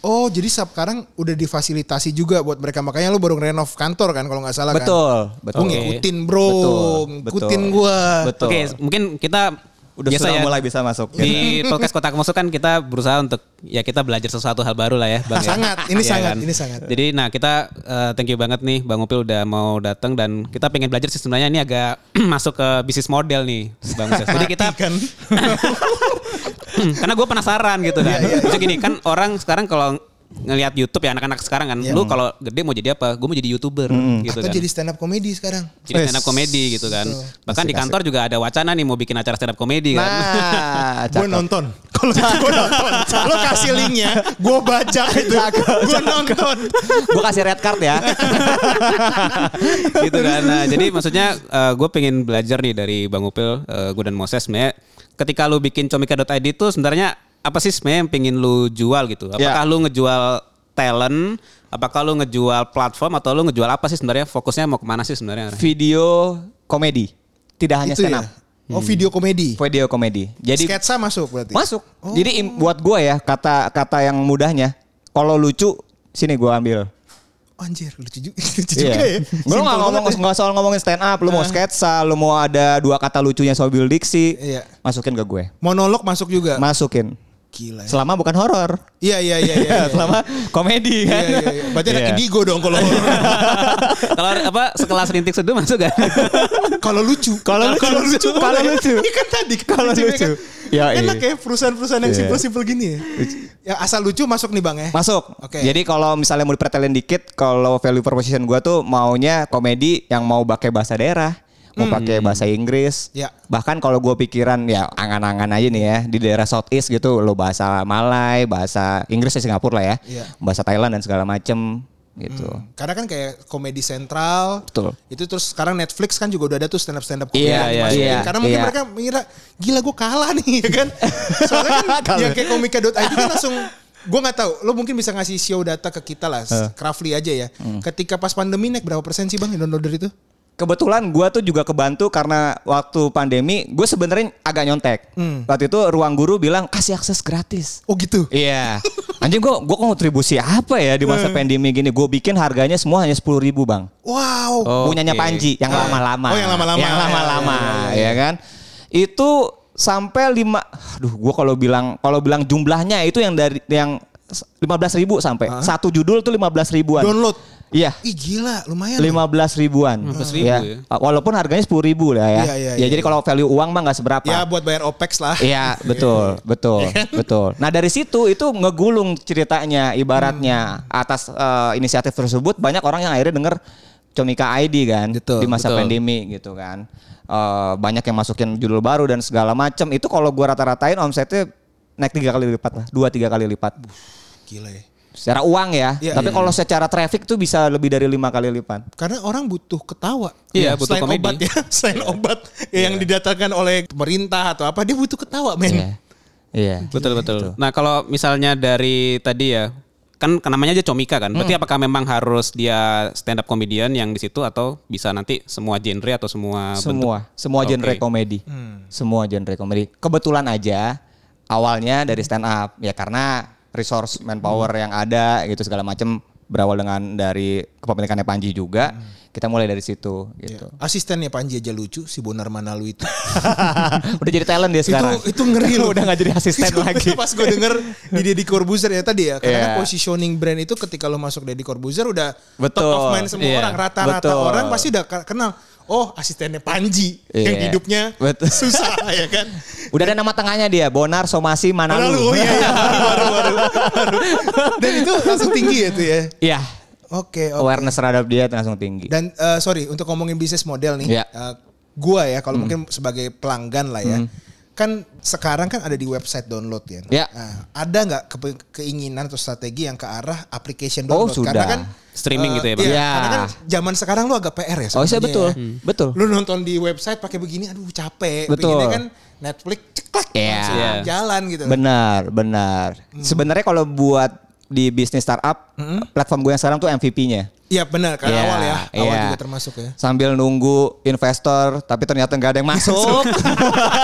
Speaker 1: Oh, jadi sekarang udah difasilitasi juga buat mereka. Makanya lu baru ngerenov kantor kan kalau nggak salah
Speaker 4: Betul,
Speaker 1: kan.
Speaker 4: betul.
Speaker 1: Lu ngikutin bro,
Speaker 4: Betul,
Speaker 1: ngikutin
Speaker 4: betul.
Speaker 1: gua.
Speaker 4: Betul.
Speaker 2: Oke, mungkin kita
Speaker 4: Udah
Speaker 2: biasa
Speaker 4: sudah
Speaker 2: ya,
Speaker 4: mulai bisa masuk.
Speaker 2: Di podcast kotak musuh kan kita berusaha untuk ya kita belajar sesuatu hal baru lah ya,
Speaker 1: Nah,
Speaker 2: Bang. ya.
Speaker 1: sangat, ini
Speaker 2: Iya
Speaker 1: sangat, ini sangat.
Speaker 2: Jadi nah kita eh, thank you banget nih Bang Upil udah mau datang dan kita pengen belajar sih sebenarnya ini agak masuk ke bisnis model nih, Bang. Ses. Jadi kita
Speaker 1: Mati kan.
Speaker 2: karena gue penasaran gitu kan.
Speaker 1: Iya,
Speaker 2: Maksudnya gini kan orang sekarang kalau ngelihat YouTube ya anak-anak sekarang kan, lu kalau gede mau jadi apa? Gue mau jadi youtuber gitu
Speaker 1: Atau
Speaker 2: kan.
Speaker 1: Iya. Hmm. jadi stand up comedy sekarang. Eh,
Speaker 2: Jadi stand up comedy gitu kan. Bahkan di kantor juga ada wacana nih mau bikin acara stand up comedy kan.
Speaker 4: Nah,
Speaker 1: Gue
Speaker 4: cakep.
Speaker 1: nonton. Kalau gue nonton, lo kasih linknya, gue baca itu. Gue nonton.
Speaker 4: Gue kasih red card ya.
Speaker 2: gitu kan. Nah, jadi maksudnya gue pengen belajar nih dari Bang Upil, gue dan Moses sebenarnya ketika lu bikin comika.id itu sebenarnya apa sih sebenarnya yang pengen lu jual gitu? Apakah lu ngejual talent, apakah lu ngejual platform atau lu ngejual apa sih sebenarnya? Fokusnya mau kemana sih sebenarnya?
Speaker 4: Video komedi. Tidak hanya
Speaker 1: Itu
Speaker 4: stand
Speaker 1: ya.
Speaker 4: up.
Speaker 1: Oh video komedi.
Speaker 4: Video komedi. Jadi
Speaker 1: Sketsa masuk berarti.
Speaker 4: Masuk.
Speaker 1: Oh.
Speaker 4: Jadi im- buat gua ya kata kata yang mudahnya, kalau lucu sini gua ambil.
Speaker 1: Anjir, lucu juga, lucu
Speaker 4: Iya.
Speaker 1: juga ya. Simple
Speaker 4: Lu nggak ngomong
Speaker 1: banget ya. Nah.
Speaker 4: nggak soal ngomongin stand up, lu mau sketsa, lu mau ada dua kata lucunya soal Bill Diksi,
Speaker 1: Iya.
Speaker 4: masukin ke gue.
Speaker 1: Monolog masuk juga.
Speaker 4: Masukin.
Speaker 1: Gila. ya.
Speaker 4: Selama bukan horor.
Speaker 1: Iya iya iya. iya, iya.
Speaker 4: Selama komedi
Speaker 1: Iya
Speaker 4: kan.
Speaker 1: iya. iya. Berarti anak
Speaker 4: Iya.
Speaker 1: indigo dong kalau
Speaker 2: Kalau apa sekelas rintik seduh masuk kan? gak?
Speaker 1: kalau lucu.
Speaker 4: Kalau lucu, kalau lucu.
Speaker 1: Ini kan tadi kan
Speaker 4: Kalau
Speaker 1: lucunya
Speaker 4: lucu.
Speaker 1: kan.
Speaker 4: Ya, iya.
Speaker 1: Enak ya perusahaan-perusahaan yang
Speaker 4: Iya.
Speaker 1: simpel-simpel gini ya. Ya asal lucu masuk nih Bang ya.
Speaker 4: Masuk.
Speaker 1: Oke.
Speaker 4: Jadi kalau misalnya mau dipretelin dikit, kalau value proposition gua tuh maunya komedi yang mau pakai bahasa daerah, mau pakai bahasa Inggris.
Speaker 1: Hmm. Ya.
Speaker 4: Bahkan kalau gua pikiran ya angan-angan aja nih ya di daerah Southeast gitu, lo bahasa Malay, bahasa Inggris di Singapura lah ya,
Speaker 1: Iya.
Speaker 4: bahasa Thailand dan segala macem gitu.
Speaker 1: Karena kan kayak komedi sentral.
Speaker 4: Betul.
Speaker 1: Itu terus sekarang Netflix kan juga udah ada tuh stand up stand up
Speaker 4: Iya, iya, iya,
Speaker 1: Karena mungkin
Speaker 4: iya.
Speaker 1: mereka mengira gila gue kalah nih ya kan. Soalnya kan
Speaker 4: Kalah.
Speaker 1: yang kayak komika.id kan langsung gue nggak tahu lo mungkin bisa ngasih show data ke kita lah roughly aja ya
Speaker 4: Hmm.
Speaker 1: ketika pas pandemi naik berapa persen sih bang yang downloader itu
Speaker 4: Kebetulan gua tuh juga kebantu karena waktu pandemi gue sebenarnya agak nyontek.
Speaker 1: Hmm.
Speaker 4: Waktu itu ruang guru bilang kasih akses gratis.
Speaker 1: oh gitu
Speaker 4: Iya. Anjing gua gua kontribusi apa ya
Speaker 1: Eh.
Speaker 4: di masa pandemi gini? Gue bikin harganya semua hanya 10.000 ribu bang.
Speaker 1: wow
Speaker 4: Punyanya
Speaker 2: Oke.
Speaker 4: Panji yang
Speaker 1: Ah.
Speaker 4: lama-lama.
Speaker 1: Oh, yang lama-lama.
Speaker 4: Yang
Speaker 1: Ya,
Speaker 4: lama-lama,
Speaker 1: ya, ya,
Speaker 4: ya kan? Itu sampai lima. Aduh, gue kalau bilang kalau bilang jumlahnya itu yang dari yang 15.000 ribu sampai satu judul tuh 15 ribuan.
Speaker 1: download Hmm.
Speaker 4: Iya.
Speaker 1: ih gila lumayan loh.
Speaker 4: 15 ribuan.
Speaker 2: 15.000
Speaker 4: ya.
Speaker 2: ya.
Speaker 4: Walaupun harganya 10 ribu lah ya.
Speaker 1: Iya, iya,
Speaker 4: ya,
Speaker 1: iya,
Speaker 4: jadi kalau value uang mah nggak seberapa.
Speaker 1: ya buat bayar opex lah
Speaker 4: Iya betul betul betul. Nah dari situ itu ngegulung ceritanya
Speaker 1: Hmm.
Speaker 4: ibaratnya atas eh, inisiatif tersebut banyak orang yang akhirnya denger Comika ID kan
Speaker 2: Betul,
Speaker 4: di masa
Speaker 2: betul.
Speaker 4: pandemi gitu kan Eh, banyak yang masukin judul baru dan segala macam itu kalau gua rata-ratain omsetnya naik tiga kali lipat lah dua tiga kali lipat
Speaker 1: gila ya
Speaker 4: secara uang ya.
Speaker 1: Iya,
Speaker 4: Tapi
Speaker 1: iya.
Speaker 4: kalau secara traffic tuh bisa lebih dari lima kali lipat.
Speaker 1: Karena orang butuh ketawa. Ya,
Speaker 2: Iya, butuh
Speaker 1: selain
Speaker 2: komedi.
Speaker 1: obat ya, selain
Speaker 4: Iya.
Speaker 1: obat ya yang didatangkan oleh pemerintah atau apa, dia butuh ketawa, men.
Speaker 4: Iya. Iya.
Speaker 2: Betul betul. Nah kalau misalnya dari tadi ya kan namanya aja comika kan. Berarti apakah memang harus dia stand up comedian yang di situ atau bisa nanti semua genre atau semua bentuk?
Speaker 4: semua semua genre
Speaker 2: Oke.
Speaker 4: komedi
Speaker 1: Hmm.
Speaker 4: semua genre komedi kebetulan aja awalnya dari stand up ya karena resource manpower
Speaker 1: Hmm.
Speaker 4: yang ada gitu segala macam berawal dengan dari kepemilikannya Panji juga
Speaker 1: Hmm.
Speaker 4: kita mulai dari situ gitu
Speaker 1: Asistennya Panji aja lucu, si Bonar Manalu itu.
Speaker 4: udah jadi talent dia sekarang
Speaker 1: Iya. Itu itu ngeri loh.
Speaker 4: udah nggak jadi asisten
Speaker 1: Itu-
Speaker 4: lagi
Speaker 1: Pas gue denger di Deddy Corbuzier ya tadi ya, karena kan
Speaker 4: Iya.
Speaker 1: positioning brand itu ketika lo masuk Deddy Corbuzier udah top
Speaker 4: Betul.
Speaker 1: of mind semua
Speaker 2: Iya.
Speaker 1: orang, rata-rata
Speaker 4: Betul.
Speaker 1: orang pasti udah ka- kenal. Oh, asistennya Panji yang
Speaker 4: Iya.
Speaker 1: hidupnya
Speaker 4: Betul.
Speaker 1: susah ya kan.
Speaker 4: udah ada nama tengahnya dia Bonar Somasi Manalu,
Speaker 1: Manalu, oh iya, iya. baru, baru, baru. Dan itu langsung tinggi ya tuh ya.
Speaker 4: Iya,
Speaker 1: Oke, oke.
Speaker 4: awareness terhadap dia langsung tinggi
Speaker 1: Dan eh, sorry untuk ngomongin bisnis model nih,
Speaker 4: Iya. Hmm.
Speaker 1: eh, gua ya kalau mungkin sebagai pelanggan lah ya, kan sekarang kan ada di website download ya.
Speaker 4: Iya.
Speaker 2: Ya.
Speaker 1: Nah, ada nggak kepe- keinginan atau strategi yang ke arah application
Speaker 4: Oh,
Speaker 1: download? Karena
Speaker 4: sudah.
Speaker 1: kan
Speaker 2: Streaming
Speaker 1: eh,
Speaker 2: gitu ya, Bang?
Speaker 1: iya,
Speaker 4: Ya.
Speaker 1: Karena kan zaman sekarang lu agak PR ya.
Speaker 4: Oh iya
Speaker 1: sebenarnya
Speaker 4: betul,
Speaker 1: ya.
Speaker 4: betul.
Speaker 1: Lu nonton di website pakai begini, aduh capek.
Speaker 4: Betul.
Speaker 1: Pinginnya kan Netflix ceklek
Speaker 4: Iya.
Speaker 1: langsung
Speaker 2: Iya.
Speaker 1: jalan gitu. Hmm.
Speaker 4: Benar, benar. Sebenarnya kalau buat di bisnis startup, platform gue yang sekarang tuh MVP-nya.
Speaker 1: Iya benar, karena
Speaker 4: Iya,
Speaker 1: awal ya, awal
Speaker 4: iya.
Speaker 1: juga termasuk ya.
Speaker 4: Sambil nunggu investor, tapi ternyata nggak ada yang masuk.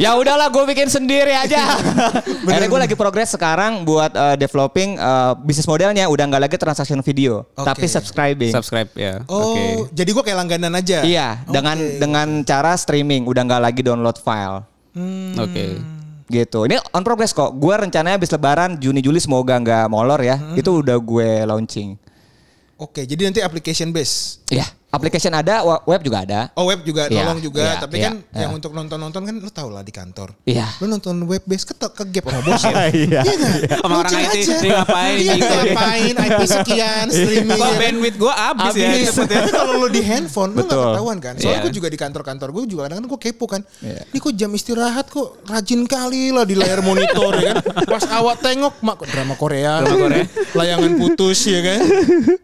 Speaker 4: ya udahlah, gue bikin sendiri aja. Akhirnya gue lagi progres sekarang buat eh, developing eh, bisnis modelnya. Udah nggak lagi transaction video,
Speaker 1: Oke.
Speaker 4: tapi subscribing.
Speaker 2: Subscribe ya.
Speaker 1: Oh, jadi gua kayak langganan aja.
Speaker 4: Iya,
Speaker 1: Oke.
Speaker 4: dengan dengan cara streaming. Udah nggak lagi download file.
Speaker 1: Hmm,
Speaker 2: Oke.
Speaker 4: Gitu. Ini on progress kok. Gue rencananya habis lebaran Juni Juli semoga nggak molor ya. Itu udah gue launching.
Speaker 1: Oke, jadi nanti application based.
Speaker 4: Iya, application ada, wa- web juga ada.
Speaker 1: Oh web juga
Speaker 4: Iya,
Speaker 1: nolong juga,
Speaker 4: iya,
Speaker 1: tapi
Speaker 4: iya,
Speaker 1: kan
Speaker 4: iya.
Speaker 1: yang untuk nonton-nonton kan lu tau lah di kantor.
Speaker 4: Iya.
Speaker 1: Lu nonton web base ke ke gap sama bos ya.
Speaker 4: Iya.
Speaker 1: nggak?
Speaker 2: Sama orang
Speaker 1: Lucu
Speaker 2: IT,
Speaker 1: aja.
Speaker 2: dia ngapain,
Speaker 1: Iya,
Speaker 2: bingung.
Speaker 1: ngapain IP sekian
Speaker 4: Iya.
Speaker 1: streaming.
Speaker 2: Kok
Speaker 1: ya kan?
Speaker 2: bandwidth gue abis, ya.
Speaker 1: Iya, tapi kalau lu di handphone lu gak
Speaker 4: Betul.
Speaker 1: ketahuan kan. Soalnya
Speaker 2: Iya.
Speaker 1: gue juga di kantor-kantor gue juga kadang-kadang gue kepo kan.
Speaker 4: Iya.
Speaker 1: Ini kok jam istirahat kok rajin kali lah di layar monitor ya kan. Pas awak tengok mak drama Korea,
Speaker 2: Drama Korea.
Speaker 1: layangan putus ya kan.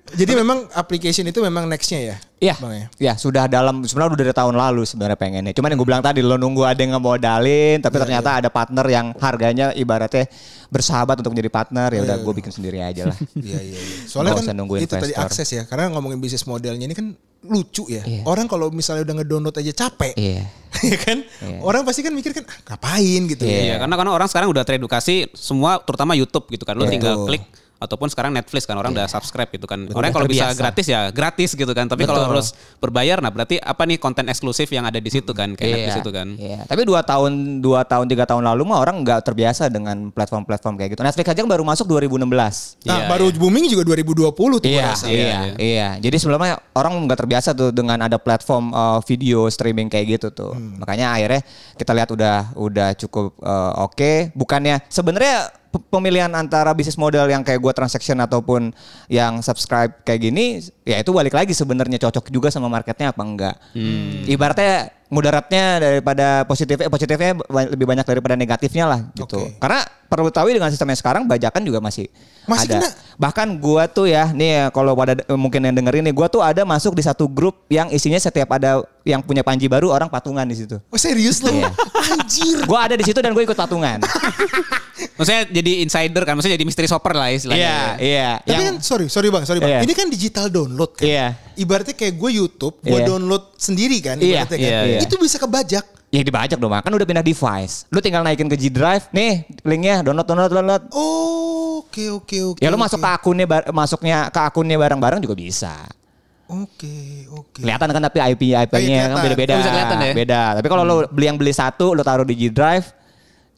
Speaker 1: Jadi memang application itu memang nextnya ya.
Speaker 4: Iya,
Speaker 1: Bang ya.
Speaker 4: ya sudah dalam sebenarnya udah dari tahun lalu sebenarnya pengennya. Cuman yang gue bilang tadi lo nunggu ada yang ngemodalin, tapi ternyata ada partner yang harganya ibaratnya bersahabat untuk menjadi partner. Ya udah gue bikin sendiri aja lah.
Speaker 1: Iya iya. iya. Soalnya
Speaker 4: Nggak
Speaker 1: kan
Speaker 4: usah nunggu
Speaker 1: itu tadi
Speaker 4: investor.
Speaker 1: akses ya. Karena ngomongin bisnis modelnya ini kan lucu ya.
Speaker 4: Iya.
Speaker 1: Orang kalau misalnya udah ngedownload aja capek.
Speaker 4: Iya.
Speaker 1: ya kan?
Speaker 4: Iya.
Speaker 1: Orang pasti kan mikir kan ah, ngapain gitu.
Speaker 4: Iya.
Speaker 2: Iya, karena karena orang sekarang udah teredukasi semua terutama YouTube gitu kan. Lu
Speaker 4: Iya.
Speaker 2: tinggal
Speaker 1: Betul.
Speaker 2: klik ataupun sekarang Netflix kan orang udah subscribe gitu kan.
Speaker 4: Betul.
Speaker 2: Orang kalau bisa
Speaker 4: Terbiasa.
Speaker 2: gratis ya gratis gitu kan. Tapi kalau
Speaker 4: Betul.
Speaker 2: harus berbayar nah berarti apa nih konten eksklusif yang ada di situ kan kayak Netflix itu kan.
Speaker 4: Iya. Tapi dua tahun, dua tahun, tiga tahun lalu mah orang nggak terbiasa dengan platform-platform kayak gitu. Netflix aja yang baru masuk 2016.
Speaker 1: Nah,
Speaker 2: Iya,
Speaker 1: baru booming juga 2020 tuh gua
Speaker 4: Iya,
Speaker 1: rasa.
Speaker 4: iya, iya,
Speaker 2: iya.
Speaker 4: Jadi sebelumnya orang nggak terbiasa tuh dengan ada platform uh, video streaming kayak gitu tuh.
Speaker 1: Hmm.
Speaker 4: Makanya akhirnya kita lihat udah udah cukup uh, oke. Bukannya sebenarnya pe- pemilihan antara bisnis model yang kayak gua transaction ataupun yang subscribe kayak gini, ya itu balik lagi sebenarnya cocok juga sama marketnya apa enggak.
Speaker 1: Hmm.
Speaker 4: Ibaratnya mudaratnya daripada positifnya, positifnya ba- lebih banyak daripada negatifnya lah gitu.
Speaker 1: Oke.
Speaker 4: Karena perlu tahu ya dengan sistemnya sekarang bajakan juga masih
Speaker 1: Masih
Speaker 4: ada.
Speaker 1: kena.
Speaker 4: Bahkan gua tuh ya, nih ya, kalau pada mungkin yang dengerin nih, gua tuh ada masuk di satu grup yang isinya setiap ada yang punya panji baru orang patungan di situ.
Speaker 1: Oh serius lu?
Speaker 4: Iya.
Speaker 1: Anjir.
Speaker 4: Gua ada di situ dan gue ikut patungan.
Speaker 2: Maksudnya jadi insider kan, maksudnya jadi misteri shopper lah istilahnya.
Speaker 4: Iya, iya.
Speaker 1: Tapi kan
Speaker 4: Yang
Speaker 1: sorry, sorry bang, sorry bang.
Speaker 4: Iya.
Speaker 1: Ini kan digital download kan.
Speaker 4: Iya.
Speaker 1: Ibaratnya kayak gue YouTube, gue
Speaker 4: Iya.
Speaker 1: download sendiri kan.
Speaker 4: Iya,
Speaker 1: ibaratnya kan.
Speaker 2: iya,
Speaker 4: iya.
Speaker 1: Itu bisa kebajak.
Speaker 4: ya dibajak dong, Mak. kan udah pindah device. Lu tinggal naikin ke G Drive, nih linknya download, download, download.
Speaker 1: Oh, Oke oke oke.
Speaker 4: Ya lu
Speaker 1: oke.
Speaker 4: masuk ke akunnya, bar- masuknya ke akunnya bareng-bareng juga bisa.
Speaker 1: Oke oke.
Speaker 4: Kelihatan kan tapi IP IP-nya kan
Speaker 1: kelihatan.
Speaker 4: beda-beda.
Speaker 2: Oh, bisa kelihatan ya?
Speaker 4: Beda. Tapi kalau lu beli yang beli satu, lu taruh di G Drive,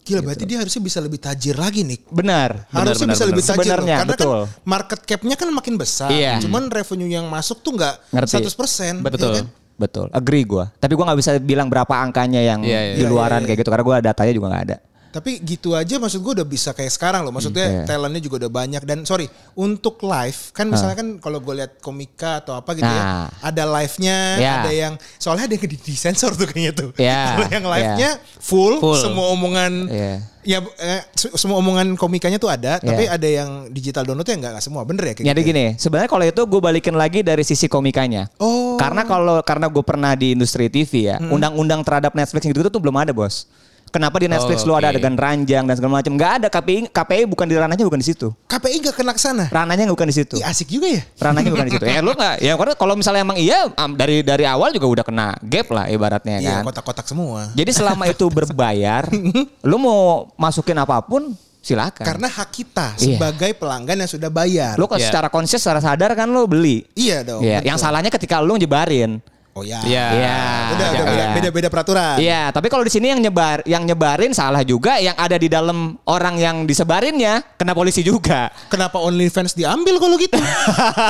Speaker 1: Gila berarti dia harusnya bisa lebih tajir lagi nih.
Speaker 4: benar.
Speaker 1: Harusnya
Speaker 2: benar,
Speaker 1: bisa
Speaker 2: benar.
Speaker 1: lebih tajir loh.
Speaker 4: Sebenarnya,
Speaker 1: karena
Speaker 4: betul.
Speaker 1: kan market cap-nya kan makin besar.
Speaker 4: Iya.
Speaker 1: Cuman revenue yang masuk tuh nggak
Speaker 4: Ngerti.
Speaker 1: 100%.
Speaker 2: Betul.
Speaker 1: ya kan?
Speaker 4: Betul, agree gua. Tapi gua nggak bisa bilang berapa angkanya yang
Speaker 2: Iya, iya.
Speaker 4: di luaran kayak gitu karena gua datanya juga nggak ada.
Speaker 1: Tapi gitu aja maksud gue udah bisa kayak sekarang loh. Maksudnya
Speaker 4: iya.
Speaker 1: talentnya juga udah banyak. Dan sorry, untuk live kan misalnya
Speaker 4: Ah.
Speaker 1: kan kalau gue lihat komika atau apa gitu ya.
Speaker 4: Nah.
Speaker 1: Ada live-nya,
Speaker 4: Ya.
Speaker 1: ada yang... Soalnya ada yang di, di sensor tuh kayaknya tuh.
Speaker 4: Ya,
Speaker 1: Kalau yang live-nya full,
Speaker 2: Full.
Speaker 1: semua omongan...
Speaker 4: Iya.
Speaker 1: Ya eh, se- semua omongan komikanya tuh ada, tapi
Speaker 4: Ya.
Speaker 1: ada yang digital downloadnya nggak nggak semua, bener ya? Kayak
Speaker 4: Ya ada
Speaker 1: gitu?
Speaker 4: gini, sebenarnya kalau itu gue balikin lagi dari sisi komikanya.
Speaker 1: Oh.
Speaker 4: Karena kalau karena gue pernah di industri TV ya,
Speaker 2: Hmm.
Speaker 4: undang-undang terhadap Netflix gitu tuh belum ada bos. Kenapa di Netflix
Speaker 2: Oh,
Speaker 4: lu ada
Speaker 2: oke.
Speaker 4: adegan ranjang dan segala macam? Gak ada KPI, KPI bukan di ranahnya bukan di situ.
Speaker 1: KPI nggak kena ke sana.
Speaker 4: Ranahnya bukan di situ.
Speaker 1: Ih, asik juga ya.
Speaker 4: Ranahnya bukan di situ. Ya lu nggak? Ya karena kalau misalnya emang iya am- dari dari awal juga udah kena gap lah ibaratnya
Speaker 1: Iya,
Speaker 4: kan.
Speaker 1: kotak-kotak semua.
Speaker 4: Jadi selama itu berbayar, lu mau masukin apapun silakan.
Speaker 1: Karena hak kita
Speaker 4: kan? Iya.
Speaker 1: sebagai pelanggan yang sudah bayar.
Speaker 4: lu kan
Speaker 2: Iya.
Speaker 4: secara konsis, secara sadar kan lu beli.
Speaker 1: iya dong.
Speaker 4: Iya,
Speaker 1: betul.
Speaker 4: yang salahnya ketika lu nyebarin.
Speaker 1: Oh ya.
Speaker 2: Iya.
Speaker 4: Iya.
Speaker 1: Udah, udah
Speaker 4: Iya.
Speaker 1: beda- beda-beda peraturan.
Speaker 4: Iya, tapi kalau di sini yang nyebar, yang nyebarin salah juga, yang ada di dalam orang yang disebarinnya kena polisi juga.
Speaker 1: Kenapa OnlyFans diambil kalau gitu?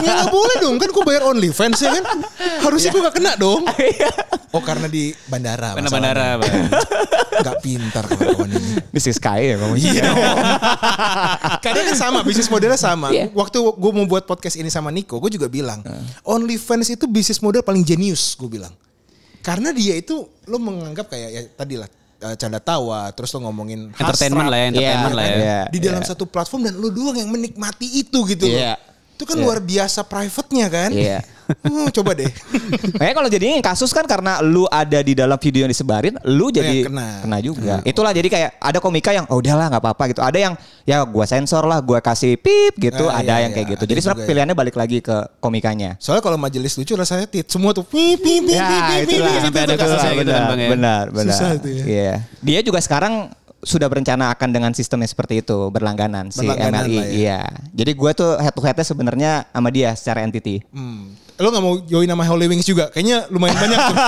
Speaker 1: ya nggak boleh dong, kan gue bayar OnlyFans ya kan?
Speaker 4: Iya.
Speaker 1: Harusnya gue gak kena dong. oh karena di bandara.
Speaker 2: Karena bandara, Bang.
Speaker 4: Iya.
Speaker 1: Gak pintar kawan-kawan ini.
Speaker 4: This is Kai ya ngomongnya.
Speaker 1: Iya. Karena kan sama, bisnis modelnya sama.
Speaker 4: Iya.
Speaker 1: Waktu gue mau buat podcast ini sama Nico, gue juga bilang, OnlyFans itu bisnis model paling jenius, gue bilang. Karena dia itu, lo menganggap kayak, ya tadi lah, eh, canda tawa, terus lo ngomongin
Speaker 2: Entertainment
Speaker 1: hasrat,
Speaker 2: lah ya, entertainment
Speaker 1: kan?
Speaker 2: lah ya.
Speaker 4: Iya,
Speaker 1: di dalam satu platform dan lu doang yang menikmati itu gitu loh.
Speaker 4: Iya.
Speaker 1: Itu kan luar biasa private-nya kan?
Speaker 4: Iya.
Speaker 1: Hmm, coba deh.
Speaker 4: Makanya kalau jadinya yang kasus kan karena lu ada di dalam video yang disebarin, lu
Speaker 1: yang Oh, ya,
Speaker 4: jadi
Speaker 1: kena.
Speaker 4: kena. juga. Itulah jadi kayak ada komika yang oh udahlah nggak apa-apa gitu. Ada yang ya gua sensor lah, gua kasih pip gitu.
Speaker 1: Ah, iya,
Speaker 4: ada yang kayak
Speaker 1: iya.
Speaker 4: gitu.
Speaker 1: Ada
Speaker 4: Jadi sebenarnya
Speaker 1: juga ya.
Speaker 4: pilihannya balik lagi ke komikanya.
Speaker 1: Soalnya kalau majelis lucu rasanya tit semua tuh pi pi pi pi pi,
Speaker 4: Ya,
Speaker 1: pi,
Speaker 4: itulah.
Speaker 1: pi,
Speaker 2: Sampai
Speaker 1: gitu
Speaker 2: ada
Speaker 1: tuh
Speaker 2: kasus
Speaker 1: kasusnya.
Speaker 2: yang- gitu kan, Bang, ya?
Speaker 4: Benar, benar.
Speaker 1: Susah itu ya.
Speaker 4: Iya. Dia juga sekarang sudah berencana akan dengan sistemnya seperti itu, berlangganan si
Speaker 1: Berlangganan
Speaker 4: MRI.
Speaker 1: lah ya.
Speaker 4: Iya. Jadi gua tuh head to headnya sebenarnya sama dia secara entity.
Speaker 1: Hmm. Lo gak mau join nama Holy Wings juga? Kayaknya lumayan banyak tuh.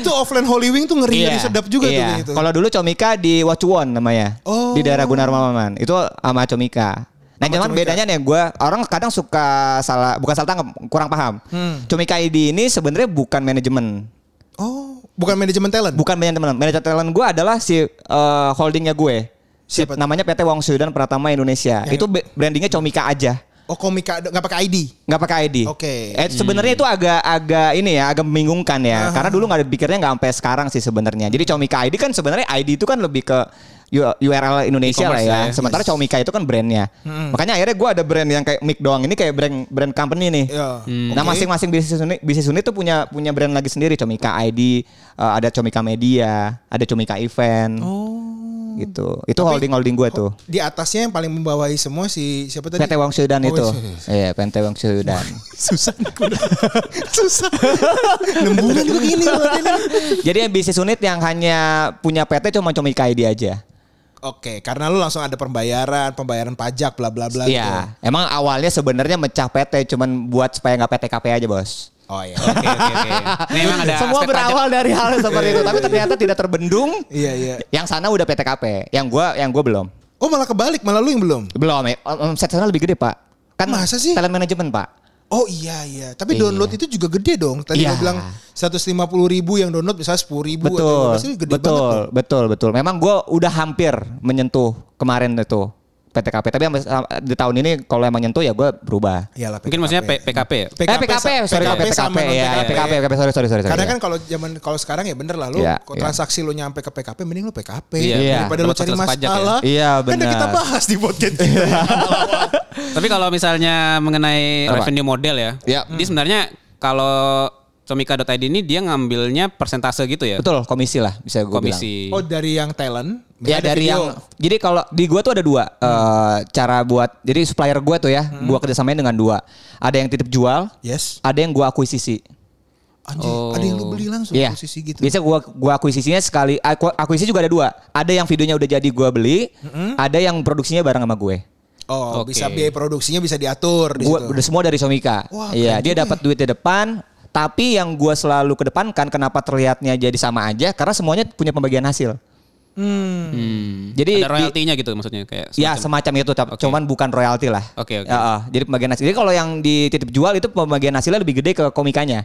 Speaker 1: itu offline Holy Wing tuh ngeri ngeri sedap juga tuh
Speaker 4: iya.
Speaker 1: kayak gitu.
Speaker 4: Kalau dulu Comika di Wacuwon namanya.
Speaker 1: Oh.
Speaker 4: Di daerah Gunarmaman. Itu sama Comika. Nah, cuman bedanya nih gue orang kadang suka salah bukan salah tangkap, kurang paham.
Speaker 1: Hmm.
Speaker 4: Comika ID ini sebenarnya bukan manajemen.
Speaker 1: Oh, bukan manajemen talent.
Speaker 4: Bukan manajemen. Manajemen talent gue adalah si eh, holdingnya gue. Si,
Speaker 1: Siapa tuh?
Speaker 4: namanya PT Wong Sudan Pratama Indonesia.
Speaker 1: Yang-
Speaker 4: Itu be- brandingnya Comika aja.
Speaker 1: Oh, komika nggak pakai ID.
Speaker 4: nggak pakai ID.
Speaker 1: Oke.
Speaker 4: Eh, sebenarnya itu agak-agak ini ya, agak membingungkan ya. Karena dulu nggak ada pikirnya nggak sampai sekarang sih sebenarnya. Jadi Comika ID kan sebenarnya ID itu kan lebih ke U- URL Indonesia lah
Speaker 2: E-commerce
Speaker 4: ya.
Speaker 2: lah ya.
Speaker 4: Sementara Comika itu kan brandnya. Makanya akhirnya gue ada brand yang kayak mic doang ini kayak brand brand company nih.
Speaker 1: Ya.
Speaker 4: Nah
Speaker 1: Oke.
Speaker 4: masing-masing bisnis unit bisnis unit tuh punya punya brand lagi sendiri. Comika ID, eh, ada Comika Media, ada Comika Event.
Speaker 1: Oh.
Speaker 4: Gitu. Itu holding holding gue tuh.
Speaker 1: Di atasnya yang paling membawahi semua si siapa tadi?
Speaker 4: PT Wong Sudan
Speaker 1: Oh,
Speaker 4: itu.
Speaker 1: iya.
Speaker 4: Iya, PT Wong Sudan.
Speaker 1: susah nih gua. susah enam bulan gue gini ngelakuin ini.
Speaker 4: Jadi yang bisnis unit yang hanya punya PT cuma cuma IKID aja.
Speaker 1: oke karena lu langsung ada pembayaran pembayaran pajak bla bla bla gitu.
Speaker 4: Iya. Emang awalnya sebenarnya mecah PT cuman buat supaya nggak PTKP aja bos.
Speaker 1: oh iya
Speaker 2: Oke oke oke. Ini memang Kan ada
Speaker 4: Semua
Speaker 2: aspek pajak.
Speaker 4: berawal dari hal seperti itu, tapi ternyata tidak terbendung.
Speaker 1: iya iya
Speaker 4: Yang sana udah PTKP, yang gua yang gua belum.
Speaker 1: oh malah kebalik malah lu yang belum
Speaker 4: Belum. eh, Omset sana lebih gede pak. Kan
Speaker 1: Masa sih?
Speaker 4: Talent manajemen pak.
Speaker 1: oh iya iya tapi
Speaker 4: Iya.
Speaker 1: download itu juga gede dong tadi lu
Speaker 4: Iya.
Speaker 1: bilang 150 ribu yang download misalnya 10 ribu
Speaker 4: betul,
Speaker 1: gede
Speaker 4: betul,
Speaker 1: banget dong.
Speaker 4: betul, betul. Memang gue udah hampir menyentuh kemarin itu PTKP. Tapi sampai- sam- di tahun ini kalau emang nyentuh ya gue berubah.
Speaker 1: Iyalah,
Speaker 2: Mungkin maksudnya P- PKP ya?
Speaker 4: eh PKP, sorry PKP,
Speaker 1: sama non-
Speaker 4: ya, PKP, PKP, sorry, sorry, sorry.
Speaker 1: Karena
Speaker 4: sorry.
Speaker 1: kan kalau zaman kalau sekarang ya bener lah lu
Speaker 4: Iya,
Speaker 1: kalau
Speaker 4: iya.
Speaker 1: transaksi lu nyampe ke PKP mending lu PKP
Speaker 2: Iya,
Speaker 1: daripada lu
Speaker 2: termasuk
Speaker 1: cari
Speaker 2: transaksi pajak ya. Iya.
Speaker 1: masalah.
Speaker 4: Iya,
Speaker 1: Kan udah
Speaker 4: benar.
Speaker 1: kita bahas di podcast kita.
Speaker 2: Tapi kalau misalnya mengenai
Speaker 4: Apa?
Speaker 2: revenue model ya.
Speaker 4: Ya.
Speaker 2: Jadi sebenarnya kalau Comika.id ini dia ngambilnya persentase gitu ya.
Speaker 4: betul komisi lah bisa gue bilang.
Speaker 2: Komisi.
Speaker 1: Oh dari yang talent? misalnya
Speaker 4: Ya
Speaker 1: ada
Speaker 4: dari
Speaker 1: video. Hmm.
Speaker 4: yang jadi kalau di gua tuh ada dua eh, cara buat jadi supplier gua tuh ya gua kerjasamain dengan dua ada yang titip jual
Speaker 1: yes.
Speaker 4: ada yang gua akuisisi
Speaker 1: Anjir,
Speaker 2: Oh.
Speaker 1: ada yang lu beli langsung
Speaker 4: Iya.
Speaker 1: posisi gitu.
Speaker 4: Biasanya gua gua akuisisinya sekali aku, akuisisi juga ada dua. Ada yang videonya udah jadi gua beli,
Speaker 1: Hmm.
Speaker 4: ada yang produksinya bareng sama gue.
Speaker 1: Oh,
Speaker 2: Oke.
Speaker 1: bisa biaya produksinya bisa diatur di
Speaker 4: Gua
Speaker 1: situ.
Speaker 4: udah semua dari Somika.
Speaker 1: Wah,
Speaker 4: Iya,
Speaker 1: keren
Speaker 4: dia
Speaker 1: juga
Speaker 4: dapat duit di depan, tapi yang gua selalu kedepankan kenapa terlihatnya jadi sama aja karena semuanya punya pembagian hasil.
Speaker 1: Hmm.
Speaker 2: Hmm.
Speaker 4: Jadi
Speaker 2: ada
Speaker 4: di-
Speaker 2: royaltinya gitu maksudnya kayak
Speaker 4: Ya
Speaker 2: semacam-
Speaker 4: semacam itu, tapi
Speaker 2: Oke.
Speaker 4: cuman bukan royalti lah.
Speaker 2: Oke, oke.
Speaker 4: Ya, ah. jadi pembagian hasil. Jadi kalau yang dititip jual itu pembagian hasilnya lebih gede ke komikanya.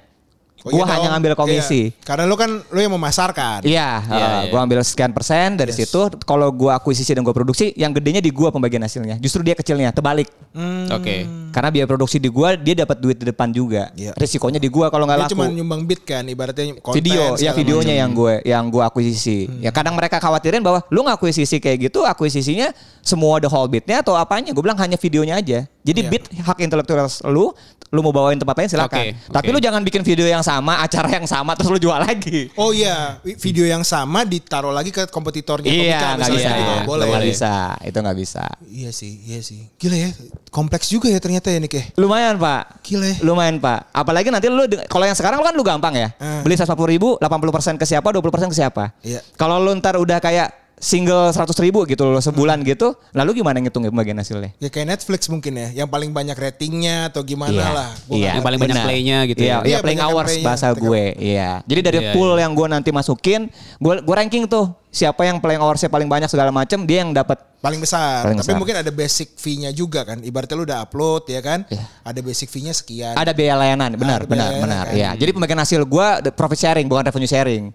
Speaker 1: Oh,
Speaker 4: gua
Speaker 1: iya
Speaker 4: hanya
Speaker 1: dong.
Speaker 4: ngambil komisi.
Speaker 1: Iya. Karena lu kan lu yang memasarkan.
Speaker 4: Iya,
Speaker 2: Iya,
Speaker 4: eh,
Speaker 2: iya.
Speaker 4: gua ambil sekian persen dari situ. Kalau gua akuisisi dan gua produksi, yang gedenya di gua pembagian hasilnya. Justru dia kecilnya, terbalik.
Speaker 1: Hmm.
Speaker 2: Oke.
Speaker 4: Karena biaya produksi di gua, dia dapat duit di depan juga.
Speaker 1: Iya.
Speaker 4: Risikonya di gua kalau nggak
Speaker 1: Dia
Speaker 4: laku.
Speaker 1: cuma nyumbang beat kan ibaratnya konten
Speaker 4: video,
Speaker 1: segala
Speaker 4: ya
Speaker 1: Hmm.
Speaker 4: videonya yang gue yang gue akuisisi. Ya kadang mereka khawatirin bahwa lu nggak akuisisi kayak gitu, akuisisinya semua the whole beatnya atau apanya? Gue bilang hanya videonya aja. Jadi
Speaker 1: Iya.
Speaker 4: beat hak intelektual lu, lu mau bawain tempat lain silakan.
Speaker 2: Oke,
Speaker 4: Tapi
Speaker 2: oke.
Speaker 4: lu jangan bikin video yang sama, acara yang sama terus lu jual lagi.
Speaker 1: Oh iya, wi- video yang sama ditaruh lagi ke kompetitornya.
Speaker 4: Iya,
Speaker 1: Komika
Speaker 4: nggak
Speaker 1: misalnya
Speaker 4: bisa,
Speaker 1: gitu, nggak boleh.
Speaker 4: nggak bisa, itu nggak bisa.
Speaker 1: Iya sih, iya sih. Gila ya, kompleks juga ya ternyata ya Nick ya.
Speaker 4: Lumayan pak,
Speaker 1: Gila ya.
Speaker 4: Eh. lumayan pak. Apalagi nanti lu, de- kalau yang sekarang lu kan lu gampang ya.
Speaker 1: Eh.
Speaker 4: Beli 140 ribu, 80% ke siapa, 20% ke siapa.
Speaker 1: Iya.
Speaker 4: Kalau lu ntar udah kayak single 100 ribu gitu loh sebulan
Speaker 1: Hmm.
Speaker 4: gitu. Lalu gimana ngitung bagian hasilnya?
Speaker 1: Ya kayak Netflix mungkin ya, yang paling banyak ratingnya atau gimana
Speaker 4: Iya,
Speaker 1: lah. Gua nggak
Speaker 2: Yang paling banyak
Speaker 4: Ya, benar.
Speaker 2: play-nya gitu
Speaker 4: Iya,
Speaker 2: ya.
Speaker 4: iya,
Speaker 1: Iya,
Speaker 4: playing
Speaker 1: banyak
Speaker 4: hours
Speaker 1: play-nya.
Speaker 4: bahasa gue. Iya. Jadi dari
Speaker 2: Iya,
Speaker 4: pool
Speaker 2: iya.
Speaker 4: yang gue nanti masukin, gue gue ranking tuh siapa yang playing hoursnya paling banyak segala macam, dia yang dapat.
Speaker 1: Paling besar.
Speaker 4: Paling
Speaker 1: Tapi
Speaker 4: besar.
Speaker 1: mungkin ada basic fee-nya juga kan. Ibaratnya lu udah upload ya kan.
Speaker 4: Iya.
Speaker 1: Ada basic fee-nya sekian.
Speaker 4: Ada biaya layanan, benar,
Speaker 1: ada biaya
Speaker 4: benar,
Speaker 1: layanan
Speaker 4: benar.
Speaker 1: kan.
Speaker 4: Iya. Jadi pembagian hasil gue the profit sharing bukan revenue sharing.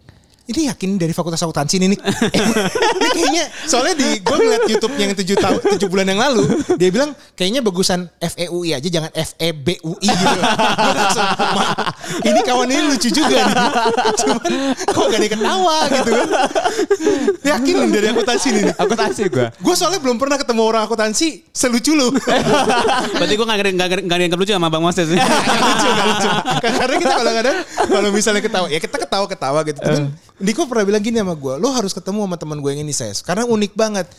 Speaker 1: Ini yakin dari fakultas akuntansi ini nih. Eh, Ini kayaknya soalnya di gue ngeliat YouTube yang 7 tahun 7 bulan yang lalu dia bilang kayaknya bagusan FEUI aja jangan FEBUI gitu. Gua langsung, "Ma, ini kawan ini lucu juga nih. Cuman kok gak ada yang ketawa gitu kan. Yakin lu dari akuntansi ini.
Speaker 4: Aku tasik gua.
Speaker 1: Gue soalnya belum pernah ketemu orang akuntansi selucu lu.
Speaker 2: Berarti gue gak, gak, gak dianggap lucu sama Bang Moses.
Speaker 4: Ya.
Speaker 1: Gak lucu, gak lucu. Karena kita kadang-kadang kalau misalnya ketawa, ya kita ketawa-ketawa gitu. Cuman Diko pernah bilang gini sama gue, lo harus ketemu sama teman gue yang ini ses. Karena unik banget.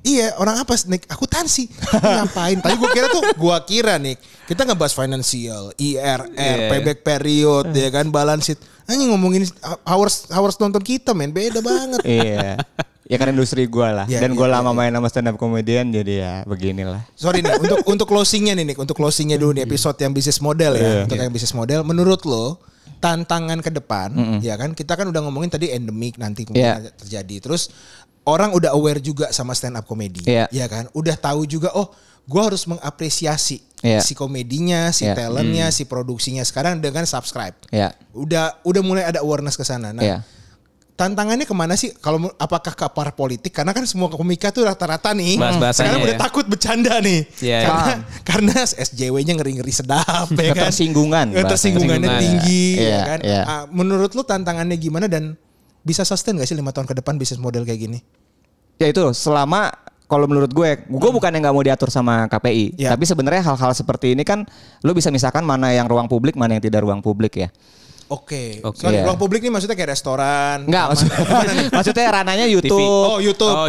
Speaker 1: Iya, orang apa Nick? Aku tansi. Ngapain? Tapi gue kira tuh, gue kira nih, kita ngebahas financial, IRR,
Speaker 2: Iya.
Speaker 1: payback period, ya kan, balance sheet. Anjing ngomongin hours hours nonton kita men, beda banget.
Speaker 4: Iya. Ya kan industri gua lah.
Speaker 1: Iya,
Speaker 4: Dan gua
Speaker 1: iya,
Speaker 4: lama
Speaker 1: iya.
Speaker 4: main sama stand up comedian jadi ya beginilah.
Speaker 1: Sorry nih untuk untuk closingnya nih Nick, untuk closingnya dulu nih
Speaker 4: Iya.
Speaker 1: episode yang bisnis model ya, untuk yang bisnis model. Menurut lo tantangan ke depan, ya kan kita kan udah ngomongin tadi endemik nanti kemungkinan
Speaker 4: Iya.
Speaker 1: terjadi. Terus orang udah aware juga sama stand up comedy,
Speaker 4: Iya.
Speaker 1: ya kan? Udah tahu juga oh gue harus mengapresiasi
Speaker 4: Iya.
Speaker 1: si komedinya, si
Speaker 4: Iya.
Speaker 1: talentnya, si produksinya sekarang dengan subscribe.
Speaker 4: Iya.
Speaker 1: Udah udah mulai ada awareness ke sana. Nah,
Speaker 4: Iya.
Speaker 1: Tantangannya kemana sih? Kalau apakah ke arah politik? Karena kan semua komika tuh rata-rata nih.
Speaker 2: Bahas-bahasanya
Speaker 1: sekarang udah
Speaker 2: ya.
Speaker 1: takut bercanda nih.
Speaker 2: Iya,
Speaker 1: karena
Speaker 4: paham.
Speaker 1: karena SJW-nya ngeri-ngeri sedap ya kan.
Speaker 4: Ketersinggungan bahasanya.
Speaker 1: Ketersinggungannya
Speaker 2: Ketersinggungan,
Speaker 1: tinggi
Speaker 4: iya.
Speaker 1: ya kan.
Speaker 4: Iya.
Speaker 1: Ah, menurut lu tantangannya gimana dan bisa sustain gak sih lima tahun ke depan bisnis model kayak gini?
Speaker 4: Ya itu selama kalau menurut gue, gue
Speaker 1: Hmm.
Speaker 4: bukan yang nggak mau diatur sama KPI,
Speaker 1: Ya.
Speaker 4: tapi sebenarnya hal-hal seperti ini kan lo bisa misalkan mana yang ruang publik, mana yang tidak ruang publik ya.
Speaker 1: Oke.
Speaker 2: Oke.
Speaker 1: Sorry,
Speaker 4: Iya.
Speaker 1: ruang publik nih maksudnya kayak restoran. taman.
Speaker 4: Enggak, maksud-
Speaker 1: Gimana Hmm, nih?
Speaker 4: maksudnya ranahnya YouTube,
Speaker 1: Oh, YouTube.
Speaker 2: Oh,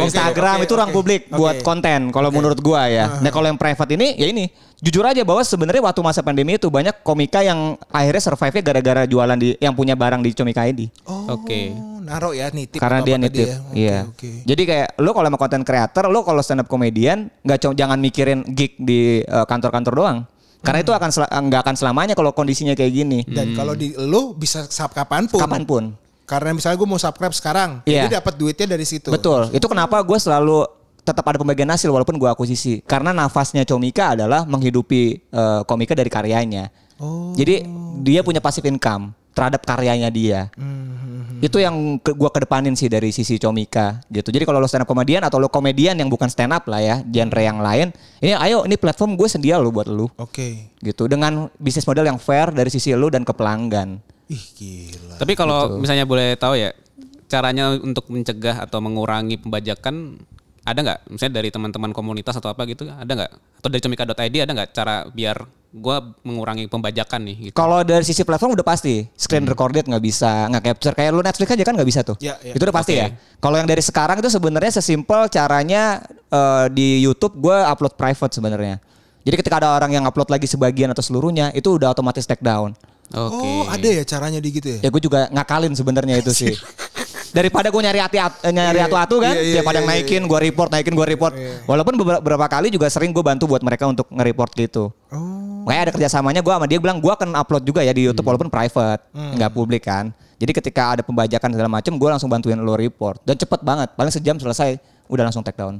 Speaker 1: oke,
Speaker 4: Instagram itu ruang
Speaker 1: oke,
Speaker 4: publik
Speaker 1: oke.
Speaker 4: buat konten. Kalau menurut gua ya. Nah, kalau yang private ini ya ini jujur aja bahwa sebenarnya waktu masa pandemi itu banyak komika yang akhirnya survive-nya gara-gara jualan di yang punya barang di Comika ID.
Speaker 1: Oh,
Speaker 2: Oke.
Speaker 1: Naro ya nitip.
Speaker 4: karena
Speaker 1: atau
Speaker 4: dia
Speaker 1: apa tadi
Speaker 4: nitip.
Speaker 1: ya. Oke,
Speaker 4: Iya.
Speaker 1: oke.
Speaker 4: Jadi kayak lo kalau sama konten creator, lo kalau stand up comedian nggak co- jangan mikirin gig di eh, kantor-kantor doang. Karena
Speaker 1: Hmm.
Speaker 4: itu akan sel- nggak akan selamanya kalau kondisinya kayak gini.
Speaker 2: Hmm.
Speaker 1: Dan kalau di lu bisa sub kapanpun.
Speaker 4: Kapanpun.
Speaker 1: Karena misalnya gue mau subscribe sekarang,
Speaker 4: Iya.
Speaker 1: jadi dapat duitnya dari situ.
Speaker 4: Betul. Itu kenapa gue selalu tetap ada pembagian hasil walaupun gue akuisisi. Karena nafasnya Comika adalah menghidupi eh, komika dari karyanya.
Speaker 1: Oh.
Speaker 4: Jadi dia punya passive income terhadap karyanya dia.
Speaker 1: Hmm,
Speaker 4: Hmm. Itu yang ke, gue kedepanin sih dari sisi Comika gitu. Jadi kalau lo stand up komedian atau lo komedian yang bukan stand up lah ya, genre yang lain, ini ayo ini platform gue sedia lo buat lo
Speaker 1: Oke.
Speaker 4: gitu dengan bisnis model yang fair dari sisi lo dan ke pelanggan.
Speaker 1: Ih gila.
Speaker 2: Tapi kalau misalnya boleh tahu ya, caranya untuk mencegah atau mengurangi pembajakan ada nggak? Misalnya dari teman-teman komunitas atau apa gitu, ada nggak? Atau dari comika.id ada nggak cara biar gua mengurangi pembajakan nih? Gitu?
Speaker 4: Kalau dari sisi platform udah pasti screen recorded nggak bisa, nggak capture kayak lu Netflix aja kan nggak bisa tuh.
Speaker 1: Hmm. Ya, ya.
Speaker 4: Itu udah pasti
Speaker 2: Oke.
Speaker 4: ya. Kalau yang dari sekarang itu sebenarnya sesimpel caranya eh, di YouTube gue upload private sebenarnya. Jadi ketika ada orang yang upload lagi sebagian atau seluruhnya itu udah otomatis take down.
Speaker 2: Oke.
Speaker 1: Oh ada ya caranya di gitu ya?
Speaker 4: Ya gue juga ngakalin sebenarnya itu sih. Daripada gue nyari hati at- eh, nyari
Speaker 1: Iya,
Speaker 4: atu-atu kan,
Speaker 1: iya, iya,
Speaker 4: daripada
Speaker 1: iya,
Speaker 4: yang naikin gue report, naikin gue report. Walaupun beberapa, beberapa kali juga sering gue bantu buat mereka untuk nge-report gitu.
Speaker 1: Oh,
Speaker 4: Makanya ada kerjasamanya gue sama dia bilang gue akan upload juga ya di YouTube
Speaker 1: Hmm.
Speaker 4: walaupun private, nggak publik kan. Jadi ketika ada pembajakan segala macam, gue langsung bantuin lo report dan cepet banget, paling sejam selesai, udah langsung take down.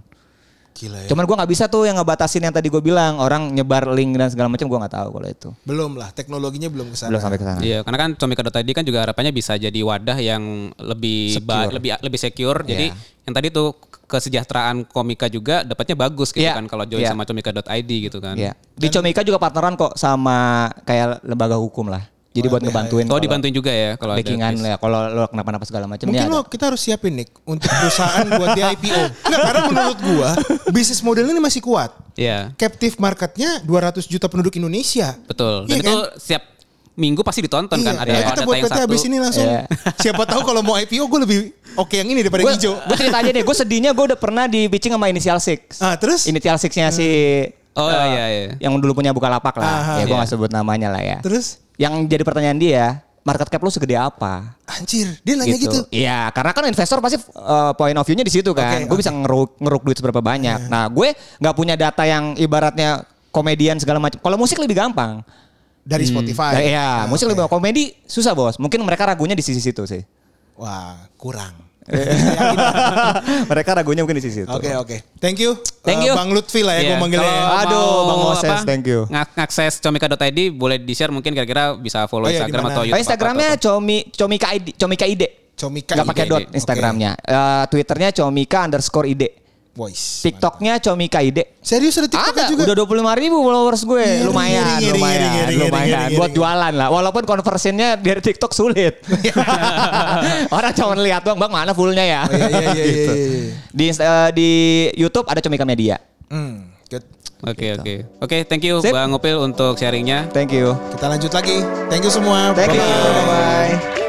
Speaker 1: Gila ya.
Speaker 4: Cuman gue nggak bisa tuh yang ngebatasin yang tadi gue bilang orang nyebar link dan segala macam gue nggak tahu kalau itu
Speaker 1: Belum lah, teknologinya belum kesana.
Speaker 4: belum sampai ke sana.
Speaker 2: Iya, karena kan comika.id kan juga harapannya bisa jadi wadah yang lebih ba-
Speaker 4: Secure.
Speaker 2: lebih lebih secure. Jadi
Speaker 4: Iya.
Speaker 2: yang tadi tuh kesejahteraan komika juga dapatnya bagus gitu
Speaker 4: Iya.
Speaker 2: kan kalau join
Speaker 4: Iya.
Speaker 2: sama comika.id gitu kan.
Speaker 4: Iya. Di Comika juga partneran kok sama kayak lembaga hukum lah. Jadi buat ngebantuin.
Speaker 2: Oh
Speaker 4: kalau
Speaker 2: dibantuin juga ya kalau ada
Speaker 4: backingan lah. Kalau lo kenapa-napa segala macam
Speaker 1: Mungkin
Speaker 4: Ya,
Speaker 1: lo kita harus siapin Nick untuk perusahaan buat di IPO. Enggak, karena menurut gua bisnis modelnya ini masih kuat.
Speaker 2: Iya.
Speaker 1: Captive marketnya 200 juta penduduk Indonesia.
Speaker 2: Betul.
Speaker 1: Iya
Speaker 2: Dan itu
Speaker 1: kan?
Speaker 2: siap minggu pasti ditonton
Speaker 1: Iya,
Speaker 2: kan ada
Speaker 1: ayo
Speaker 2: kalau
Speaker 1: kita
Speaker 2: data
Speaker 1: buat
Speaker 2: yang
Speaker 1: PT
Speaker 2: satu.
Speaker 1: abis ini langsung.
Speaker 4: Iya.
Speaker 1: Siapa tahu kalau mau IPO gue lebih oke yang ini daripada yang hijau.
Speaker 4: Gue cerita aja deh. Gue sedihnya gue udah pernah di bitching sama Initial Six.
Speaker 1: Ah, terus?
Speaker 4: Initial Sixnya si
Speaker 2: Oh
Speaker 4: eh,
Speaker 2: iya iya.
Speaker 4: yang dulu punya buka lapak
Speaker 1: Aha.
Speaker 4: lah. ya
Speaker 2: Iya.
Speaker 4: gue nggak sebut namanya lah ya.
Speaker 1: Ah, Terus?
Speaker 4: Yang jadi pertanyaan dia, market cap lo segede apa?
Speaker 1: Anjir, dia nanya gitu.
Speaker 4: Iya, karena kan investor pasti uh, point of view-nya di situ
Speaker 1: Oke, Ah.
Speaker 4: kan. gue bisa ngeruk, ngeruk duit seberapa banyak. Nah, gue nggak punya data yang ibaratnya komedian segala macam. Kalau musik lebih gampang.
Speaker 1: Dari Spotify.
Speaker 4: Nah, iya,
Speaker 1: Ah, oke.
Speaker 4: musik lebih komedi susah, Bos. Mungkin mereka ragunya di sisi situ sih.
Speaker 1: Wah, kurang.
Speaker 4: Iya, mereka ragunya mungkin di sisi situ.
Speaker 1: Oke, oke. Thank you.
Speaker 4: Thank
Speaker 1: eh,
Speaker 4: you.
Speaker 1: Bang Lutfi lah ya
Speaker 2: Iya,
Speaker 1: gue manggilnya.
Speaker 2: kalau
Speaker 1: ya.
Speaker 4: Aduh,
Speaker 2: mau
Speaker 4: Bang Moses,
Speaker 2: apa,
Speaker 4: thank you.
Speaker 2: ngak- Ngakses comika.id boleh di-share mungkin kira-kira bisa follow
Speaker 1: Oh iya,
Speaker 2: Instagram
Speaker 1: di mana?
Speaker 2: atau
Speaker 1: Oh,
Speaker 4: Oh,
Speaker 2: YouTube. atau
Speaker 4: Instagramnya
Speaker 2: apa.
Speaker 4: Comi Comika ID, Comika ID.
Speaker 1: Comika ya.
Speaker 4: Gak
Speaker 1: ID.
Speaker 4: pakai dot
Speaker 2: Oke.
Speaker 4: Instagramnya. Eh, Twitternya comika underscore id.
Speaker 1: Voice.
Speaker 4: TikToknya comika id.
Speaker 1: Serius ada TikTok
Speaker 4: Ada,
Speaker 1: juga?
Speaker 4: udah 25 ribu followers gue.
Speaker 1: Ngiri,
Speaker 4: lumayan,
Speaker 1: ngiri, ngiri,
Speaker 4: lumayan,
Speaker 1: ngiri, ngiri,
Speaker 4: lumayan.
Speaker 1: ngiri, ngiri,
Speaker 4: Buat
Speaker 1: ngiri.
Speaker 4: jualan lah. Walaupun konversinya dari TikTok sulit. Orang cuma lihat doang, bang mana fullnya ya.
Speaker 1: Oh, iya, iya, iya, iya,
Speaker 4: Gitu.
Speaker 1: iya, iya.
Speaker 4: Di, Insta- eh, di YouTube ada comika media.
Speaker 1: Hmm, good.
Speaker 2: Oke oke oke thank you
Speaker 4: Gitu. Sip.
Speaker 2: Bang Opil untuk sharingnya.
Speaker 4: Thank you.
Speaker 1: Kita lanjut lagi. Thank you semua.
Speaker 4: Thank you.
Speaker 1: Bye-bye.
Speaker 4: Bye-bye.